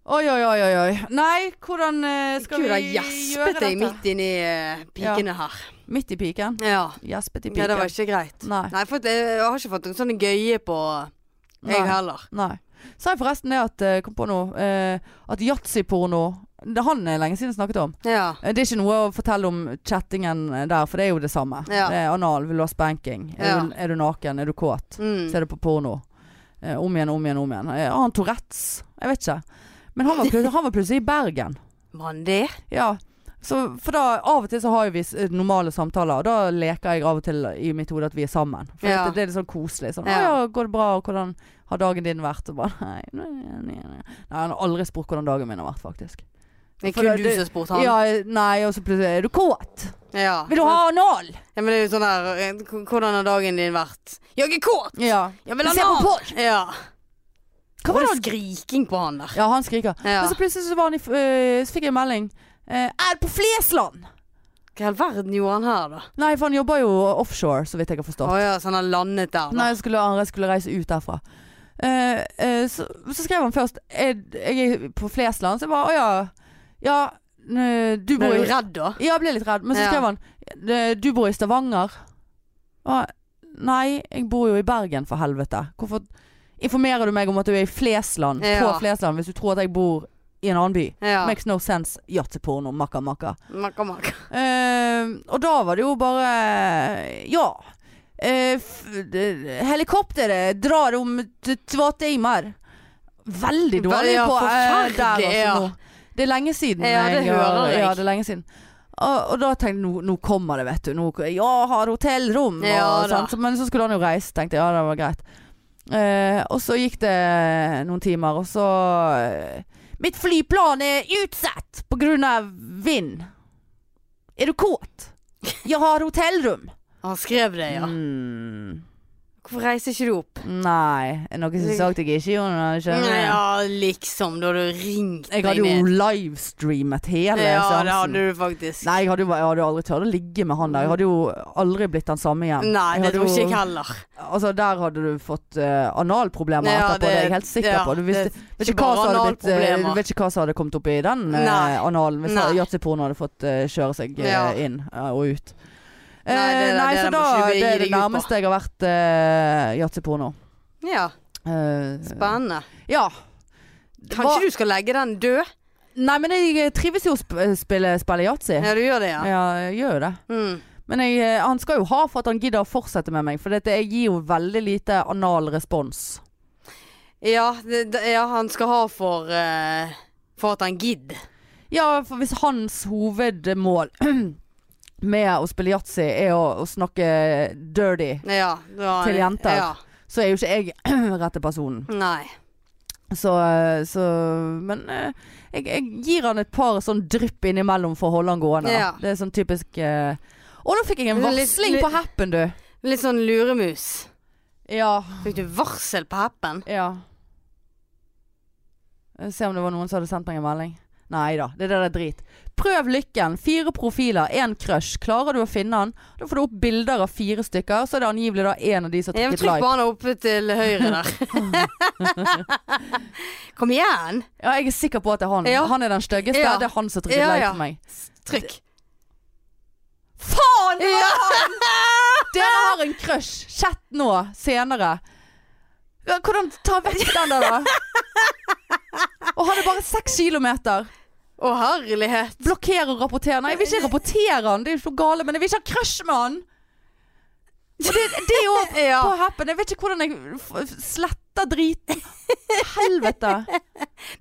Oi, oi, oi, oi. oi. Nei, hvordan eh, skal Gud, da vi gjøre gjespet dette? jeg midt inni eh, pikene her. Midt i piken? Ja. Gjespet i ja, det piken. var ikke greit. Nei. Nei, for eh, jeg, jeg har ikke fått noen sånne gøye på eh, jeg Nei. heller. Nei. Sa jeg forresten det at eh, Kom på nå. eh, at yatzyporno det- Han er lenge siden jeg snakket om. Ja. Eh, Det er ikke noe å fortelle om chattingen eh, der, for det er jo det samme. Ja. Det er anal, vil du ha spanking? Er, Ja. du, er du naken? Er du kåt? Mm. Ser du på porno? Eh, om igjen, om igjen, om igjen. Eh, Har han Tourettes? Jeg vet ikke. Men han var, plut- han var plutselig i Bergen. Mann, det. Ja. Så, for da, av og til så har jo vi s- eh, normale samtaler, og da leker jeg av og til i mitt hode at vi er sammen. For Ja. det, det er litt sånn koselig. Sånn, Ja. 'Å ja, går det bra? Og hvordan har dagen din vært?' Og bare nei, nei, nei, nei. nei, han har aldri spurt hvordan dagen min har vært, faktisk. Det er For det- kun du som spurte han. Ja, eh, nei, og så plutselig 'Er du kåt?' Ja. Vil du ha anal? Ja, men det er jo sånn der eh, k- Hvordan har dagen din vært? Jeg er kåt! Ja. Jeg vil ha Se på navn! porr! Ja. Hva Var var det det var skriking på han der? Ja, han skriker. Ja. Men så plutselig så, var han i, f- øh, så fikk jeg en melding. Eh, er på Flesland! Hva i all verden gjorde han her, da? Nei, for han jobber jo offshore, så vidt jeg har Å forstått. ja, så han har landet der, da. Nei, jeg skulle, han skulle reise ut derfra. Eh, eh, så, så skrev han først Jeg, jeg er på Flesland, så jeg bare Å ja. Ja, eh, du Ble bor i du redd, da? Ja, jeg ble litt redd. Men så Ja. skrev han eh, Du bor i Stavanger. Og, nei, jeg bor jo i Bergen, for helvete. Hvorfor informerer du meg om at du er i Flesland, på Ja. Flesland, hvis du tror at jeg bor i en annen by? Ja. Makes no sense. Yatzyporno, makka makka. Makka, makka. Eh, og da var det jo bare Ja. Eh, f- d- helikopteret drar om t- två timer. Veldig dårlig Ja, på eh, forferdelig, der altså ja. nå. Det er lenge siden. Ja, det har- hører jeg. Ja, det er lenge siden. Og, og da tenkte jeg nå, nå kommer det, vet du. Nå, ja, har hotellrom Ja, og da. sånn. Så- Men så skulle han jo reise, tenkte jeg. Ja, det var greit. Eh, og så gikk det noen timer, og så eh, Mitt flyplan er utsatt på grunn av vind. Er du kåt? Jeg har hotellrom. Han skrev det, ja. Mm, Hvorfor reiser ikke du opp? Mm, nei. Er det noe som sagt jeg ikke gjorde noe? Skjønner du? Ja, liksom. Da hadde du ringt Jeg hadde jo livestreamet hele Ja, det seansen. hadde du faktisk. Nei, jeg hadde, jo, jeg hadde jo aldri tørt å ligge med han der. Jeg hadde jo aldri blitt den samme igjen. Nei, det hadde tror ikke jo- jeg heller. Altså, der hadde du fått eh, analproblemer Ja, etterpå, det, er jeg helt sikker ja, på. Du visste, det- vet, ikke ikke hva bare som hadde blitt, eh, analproblemer. du vet ikke hva som hadde kommet opp i den eh, Nei. analen hvis Nei. yatzyporno hadde fått eh, kjøre seg eh, Ja. inn eh, og ut. Nei, Eh, det- det- nei, det så må da ikke det du gi er det deg ut på. nærmeste jeg har vært uh, yatzyporno. Ja, Eh, spennende. ja. Hva- Kanskje du skal legge den død? Nei, men jeg trives jo å sp spille, spille yatzy. Ja, du gjør det, ja. Ja, jeg gjør jo det. Mm. Men jeg, eh, han skal jo ha for at han gidder å fortsette med meg, for dette, jeg gir jo veldig lite anal respons. Ja, det, det- ja, han skal ha for eh, For at han gidder. Ja, for hvis hans hovedmål med å spille yatzy er å, å snakke dirty, Ja, det var- Til jenter. Ja. så er jo ikke jeg rette personen. Nei. Så, eh, så Men eh, jeg, jeg gir han et par sånn drypp innimellom for å holde han gående. da. Ja. Det er sånn typisk eh, Å, nå fikk jeg en Litt- varsling litt- på Happen, du! Litt sånn luremus. Ja. Fikk du varsel på happen? Ja. Jeg ser om det var noen som hadde sendt meg en melding. Nei da, det der er drit. Prøv lykken. Fire profiler, én crush. Klarer du å finne han? Da får du opp bilder av fire stykker, så er det angivelig da én av de som har Ja, men trykket Trykk på like. han oppe til høyre der. Kom igjen! Ja, jeg er sikker på at det er han. Ja. Han er den styggeste. Ja. Det er han som har trykket Ja, like ja. på meg. Trykk. Faen! det var Ja. han! Dere har en crush. Chat nå, senere. Ja, Hvordan ta vekk den der, da? Og han er bare seks kilometer. Å, herlighet. Blokker og rapporter. Nei, jeg vil ikke rapportere han. Det er jo så gale, men jeg vil ikke ha crush med han. Og det, det er jo Ja. på happen. Jeg vet ikke hvordan jeg f- sletter driten. Helvete.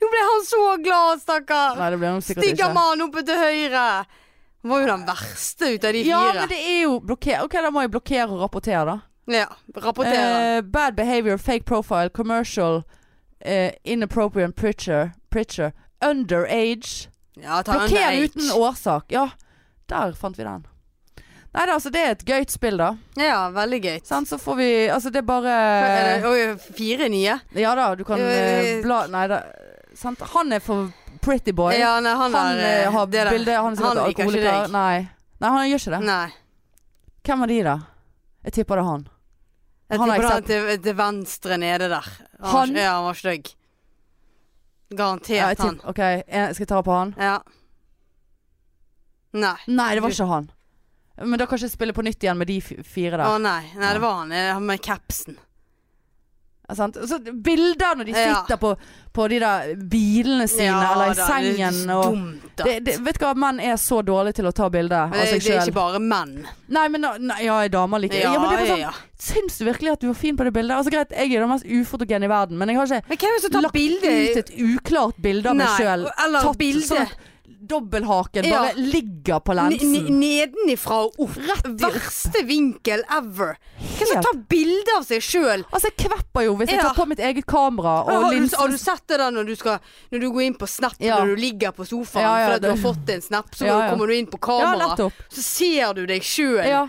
Nå ble han så glad, stakkar. Nei, det ble han sikkert ikke. Stikker mannen oppe til høyre. Han var jo den verste ut av de Ja, fire. men det er jo blokker. Ok, da må jeg blokkere og rapportere, da. Ja, rapporterer. Eh, bad behavior, fake profile, commercial, eh, inappropriate preacher, preacher, underage. ja, ta en Blokker break. uten årsak. Ja, der fant vi den. Nei da, altså det er et gøyt spill, da. Ja, veldig gøy. Sant, Eh. så får vi Altså det er bare Er det- Oi, fire nye? Ja da, du kan eh, bla Nei da. Sant. Han er for pretty boy. Ja, nei, han, han eh, er, har det der. bilde Han er sikkert Han liker ikke alkoholiker. deg. Nei. Nei, han gjør ikke det. Nei. Hvem er de, da? Jeg tipper det er han. Jeg Han har tipper ikke han til, til venstre nede der. Han, var- Han? Ja, han var stygg. Ja, jeg Garantert han. tipper- OK, jeg skal jeg ta på han? Ja. Nei. Nei, det var ikke han. Men da kan jeg ikke spille på nytt igjen med de fi- fire der. Å nei. Nei, det var han eh, han med capsen. Ja, sant? Og Så bilder når de Ja. sitter på, på de der bilene sine eller i da, Det er sengen så og dumt, da. det, det, Vet du hva, menn er så dårlige til å ta bilde av Men det, seg det er sjøl. ikke bare menn. Nei, men da- nei, ja, damer liker ja, men det er bare sånn, ja. Syns du virkelig at du var fin på det bildet? Altså Greit, jeg er jo den mest ufotogene i verden, men jeg har ikke Men hvem er det som tar lagt bilde? ut et uklart bilde av meg Nei, sjøl. Eller Tatt bilde sånn at dobbelthaken Ja. bare ligger på ne- ne- lensen. nedenifra og opp. Rett i opp. Verste vinkel ever. Hvem som Helt- tar bilde av seg sjøl? Altså, jeg kvepper jo hvis jeg altså, Ja. tar på mitt eget kamera og Har, du- linsen har du sett det da når du, skal, når du går inn på Snap Ja. når du ligger på sofaen Ja, ja, fordi at du det- har fått en Snap, så Ja, ja. kommer du inn på Ja, kamera, nettopp. så ser du deg sjøl. Ja.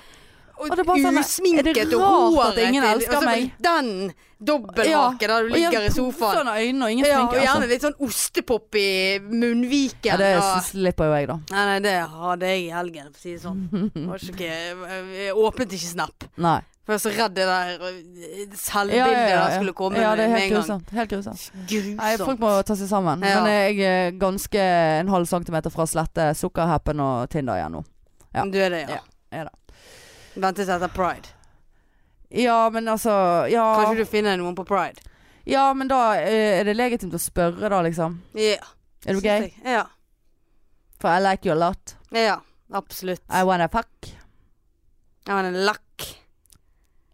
Og, Og det er bare sånn, er usminket det og rart at håret ingen til- elsker altså, meg? Den dobbelthaken der du og ligger gjerne i sofaen. puffende øyne og ingen Ja, og sminke. gjerne Altså. litt sånn ostepop i munnviken. Ja, det og- slipper jo jeg, da. Nei, nei, det hadde jeg i helgen, for å si det sånn. Det Var ikke, jeg åpnet ikke Snap. Nei. For jeg var så redd det der eh, selvbildet Ja, ja, ja, der ja. skulle komme ja, det er med helt en gang. grusomt. Helt grusomt. Grusomt. Nei, folk må ta seg sammen. Ja. Men jeg er ganske en halv centimeter fra å slette sukkerhappen og Tinder igjen nå. ja. Du er det, ja. Ja, er det. Ventet etter pride. Ja, men altså Ja, Kanskje du finner noen på pride. ja men da eh, er det legitimt å spørre, da, liksom. Ja. Er du synes gay? jeg. Ja. For I like you a lot. ja. Absolutt. I wanna fuck. Han er lakk.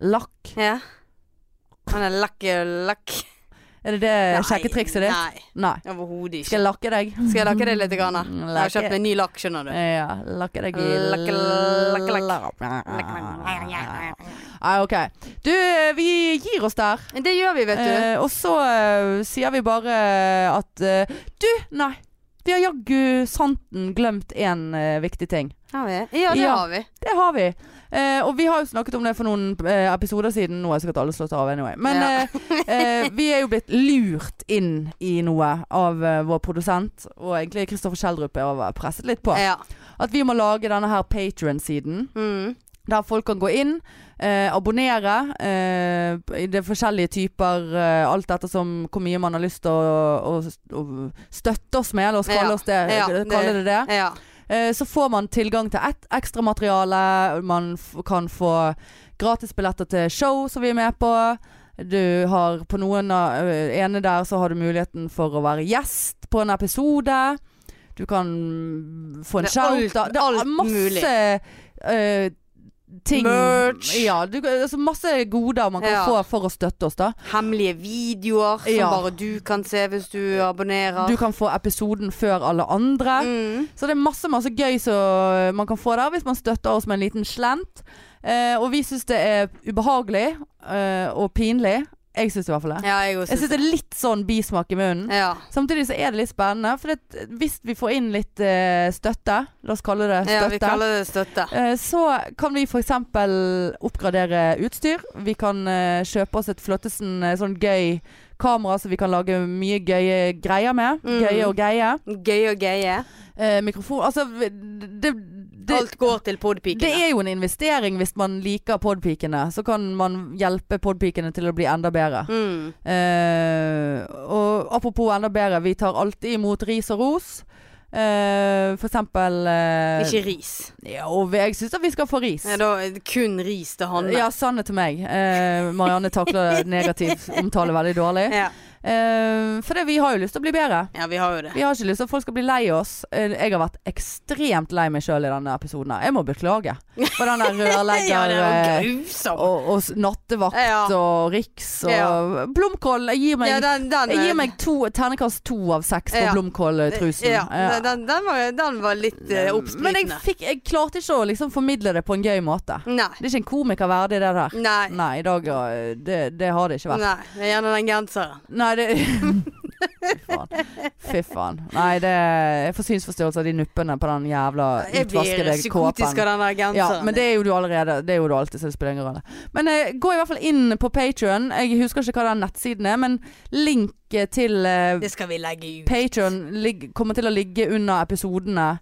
Lakk. Ja. Han er lakk lakk. Er det det Nei, sjekketrikset Eh, ditt? Nei, Nei. overhodet ikke. Skal jeg lakke deg? Skal jeg lakke det litt? Grann, da? Mm, jeg har lakke. Eh. kjøpt meg ny lakk, skjønner du. Ja, lakke deg i Lakke, lakke, Nei, ok. Du, eh, vi gir oss der. Det gjør vi, vet du. Eh, og så eh, sier vi bare at eh, Du, nei. Vi har jaggu santen glemt én viktig ting. Har vi? Ja, det Ja. har vi. Det har vi. Eh, og vi har jo snakket om det for noen eh, episoder siden. Nå har sikkert alle slått av anyway. Men Ja. eh, eh, vi er jo blitt lurt inn i noe av eh, vår produsent. Og egentlig Kristoffer Schjelderup er over- presset litt på. Ja. At vi må lage denne her Patron-siden. Mm. Der folk kan gå inn, eh, abonnere. Eh, i det er forskjellige typer. Eh, alt etter som hvor mye man har lyst til å, å, å støtte oss med. La oss kalle, Ja, oss det, ja, kalle det det. Ja. Eh, så får man tilgang til et ekstra materiale. Man f kan få gratisbilletter til show som vi er med på. Du har på noen av eh, ene der så har du muligheten for å være gjest på en episode. Du kan få en Det er alt- shout out. Det alt er mulig. masse eh, ting Merch. Ja, du, altså masse goder man kan Ja. få for å støtte oss, da. Hemmelige videoer som Ja. bare du kan se hvis du abonnerer. Du kan få episoden før alle andre. mm. Så det er masse masse gøy som man kan få der hvis man støtter oss med en liten slent. Eh, og vi syns det er ubehagelig eh, og pinlig. Jeg syns i hvert fall det. Ja, jeg også Jeg syns det er litt sånn bismak i munnen. Ja. Samtidig så er det litt spennende, for det, hvis vi får inn litt eh, støtte, la oss kalle det ja, vi støtte, kaller det støtte. eh, så kan vi f.eks. oppgradere utstyr. Vi kan eh, kjøpe oss et flottesen eh, sånn gøy kamera som vi kan lage mye gøye greier med. Mm. Gøye og greie. Gøy og geie. Eh, mikrofon Altså, det, det Alt går til Det podpikene. er jo en investering hvis man liker podpikene. Så kan man hjelpe podpikene til å bli enda bedre. Mm. Eh, og apropos enda bedre, vi tar alltid imot ris og ros. Eh, for eksempel eh, Ikke ris. Jo, jeg syns at vi skal få ris. Nei, da, er det kun ris til Hanne. Ja, sanne til meg. Eh, Marianne takler negativ omtale veldig dårlig. Ja. Eh, for det, vi har jo lyst til å bli bedre. Ja, vi har jo det. Vi har ikke lyst til at folk skal bli lei oss. Eh, Jeg har vært ekstremt lei meg sjøl i denne episoden. her. Jeg må beklage. For den der ja, rørlegger det var eh, grusomt. og, og s- nattevakt Ja. og Riks og Ja. Blomkål. Jeg gir meg, ja, den, den, eh, jeg gir meg to, ternekast to av seks på Ja. blomkåltrusen. Ja, Ja. Den, den, var, den var litt eh, Men jeg, oppslitende. fikk, jeg klarte ikke å liksom formidle det på en gøy måte. Nei. Det er ikke en komiker verdig, det der. Nei. Nei, i dag eh, det, det har det ikke vært. Nei. Det er gjerne den genseren. Nei, det Fy faen. Fy faen. Nei, det Jeg får synsforstyrrelse av de nuppene på den jævla Jeg blir utvaskede psykotisk kåpen. av den der Ja, genseren. men det er jo du allerede. Det er jo du alltid, så det spiller ingen rolle. Men eh, gå i hvert fall inn på Patrion. Jeg husker ikke hva den nettsiden er, men link eh, til eh, Det skal vi legge ut. Patrion ligg- kommer til å ligge under episodene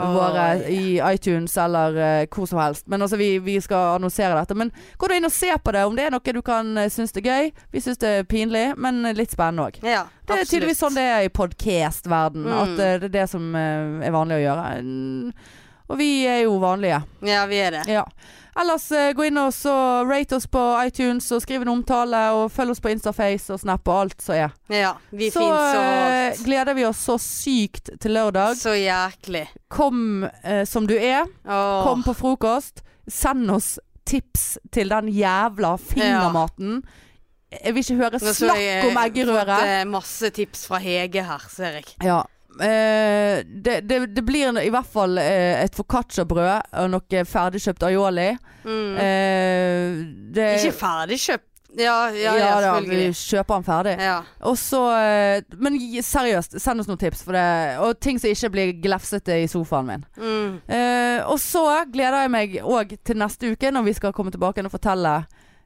Åh, våre ja. i iTunes eller eh, hvor som helst. Men altså, vi, vi skal annonsere dette. Men gå da inn og se på det, om det er noe du kan eh, synes det er gøy. Vi synes det er pinlig, men eh, litt spennende òg. Ja, Det er absolutt. tydeligvis sånn det er i podcast-verden. Mm. At eh, det er det som eh, er vanlig å gjøre. Mm, Og vi er jo vanlige. Ja, vi er det. Ja. Ellers eh, gå inn og så rate oss på iTunes, og skriv en omtale, og følg oss på Instaface og Snap og alt som er. Ja, vi så finnes så eh, overalt. gleder vi oss så sykt til lørdag. Så jæklig. Kom eh, som du er. Åh. Kom på frokost. Send oss tips til den jævla fingermaten. Jeg vil ikke høre Nå så jeg, snakk om eh, eggerøre. Det er masse tips fra Hege her, ser jeg. Ja. Eh, det, det, det blir i hvert fall eh, et foccacciabrød og noe ferdigkjøpt aioli. Mm. Eh, det, Ikke ferdigkjøpt. Ja, ja, ja, da, vi selvfølgelig. kjøper den ferdig. Ja. Og så eh, Men gi- seriøst, send oss noen tips, for det, og ting som ikke blir glefsete i sofaen min. Mm. Eh, og så gleder jeg meg òg til neste uke, når vi skal komme tilbake igjen og fortelle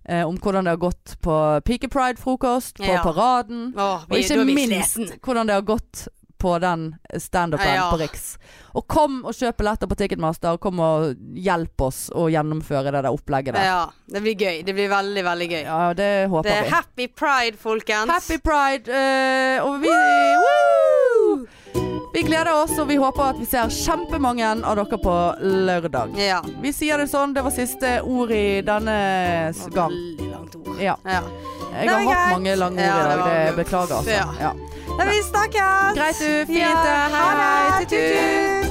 eh, om hvordan det har gått på Pike Pride-frokost, på Ja. Paraden. Åh, Og vi, da ikke er vi minst sliten. hvordan det har gått på den standupen Ja. på Riks. Og kom og kjøp billetter på Ticketmaster, og kom og hjelp oss å gjennomføre det der opplegget der. Ja, det blir gøy. Det blir veldig, veldig gøy. Ja, det håper Det er vi. happy pride, folkens. Happy pride! eh, og vi Woo! Vi gleder oss, og vi håper at vi ser kjempemange av dere på lørdag. Ja. Vi sier det sånn, det var siste ord i denne s- gang. Veldig langt ord. Ja. Ja. Jeg Det har var hatt greit. mange lange ord Ja, i det dag, var- det beklager altså. Ja. Ja. Men vi snakkes! Greit, du. Fint, Ja, det. Hei, ha hei. Tut, det. tut. Tut, tut.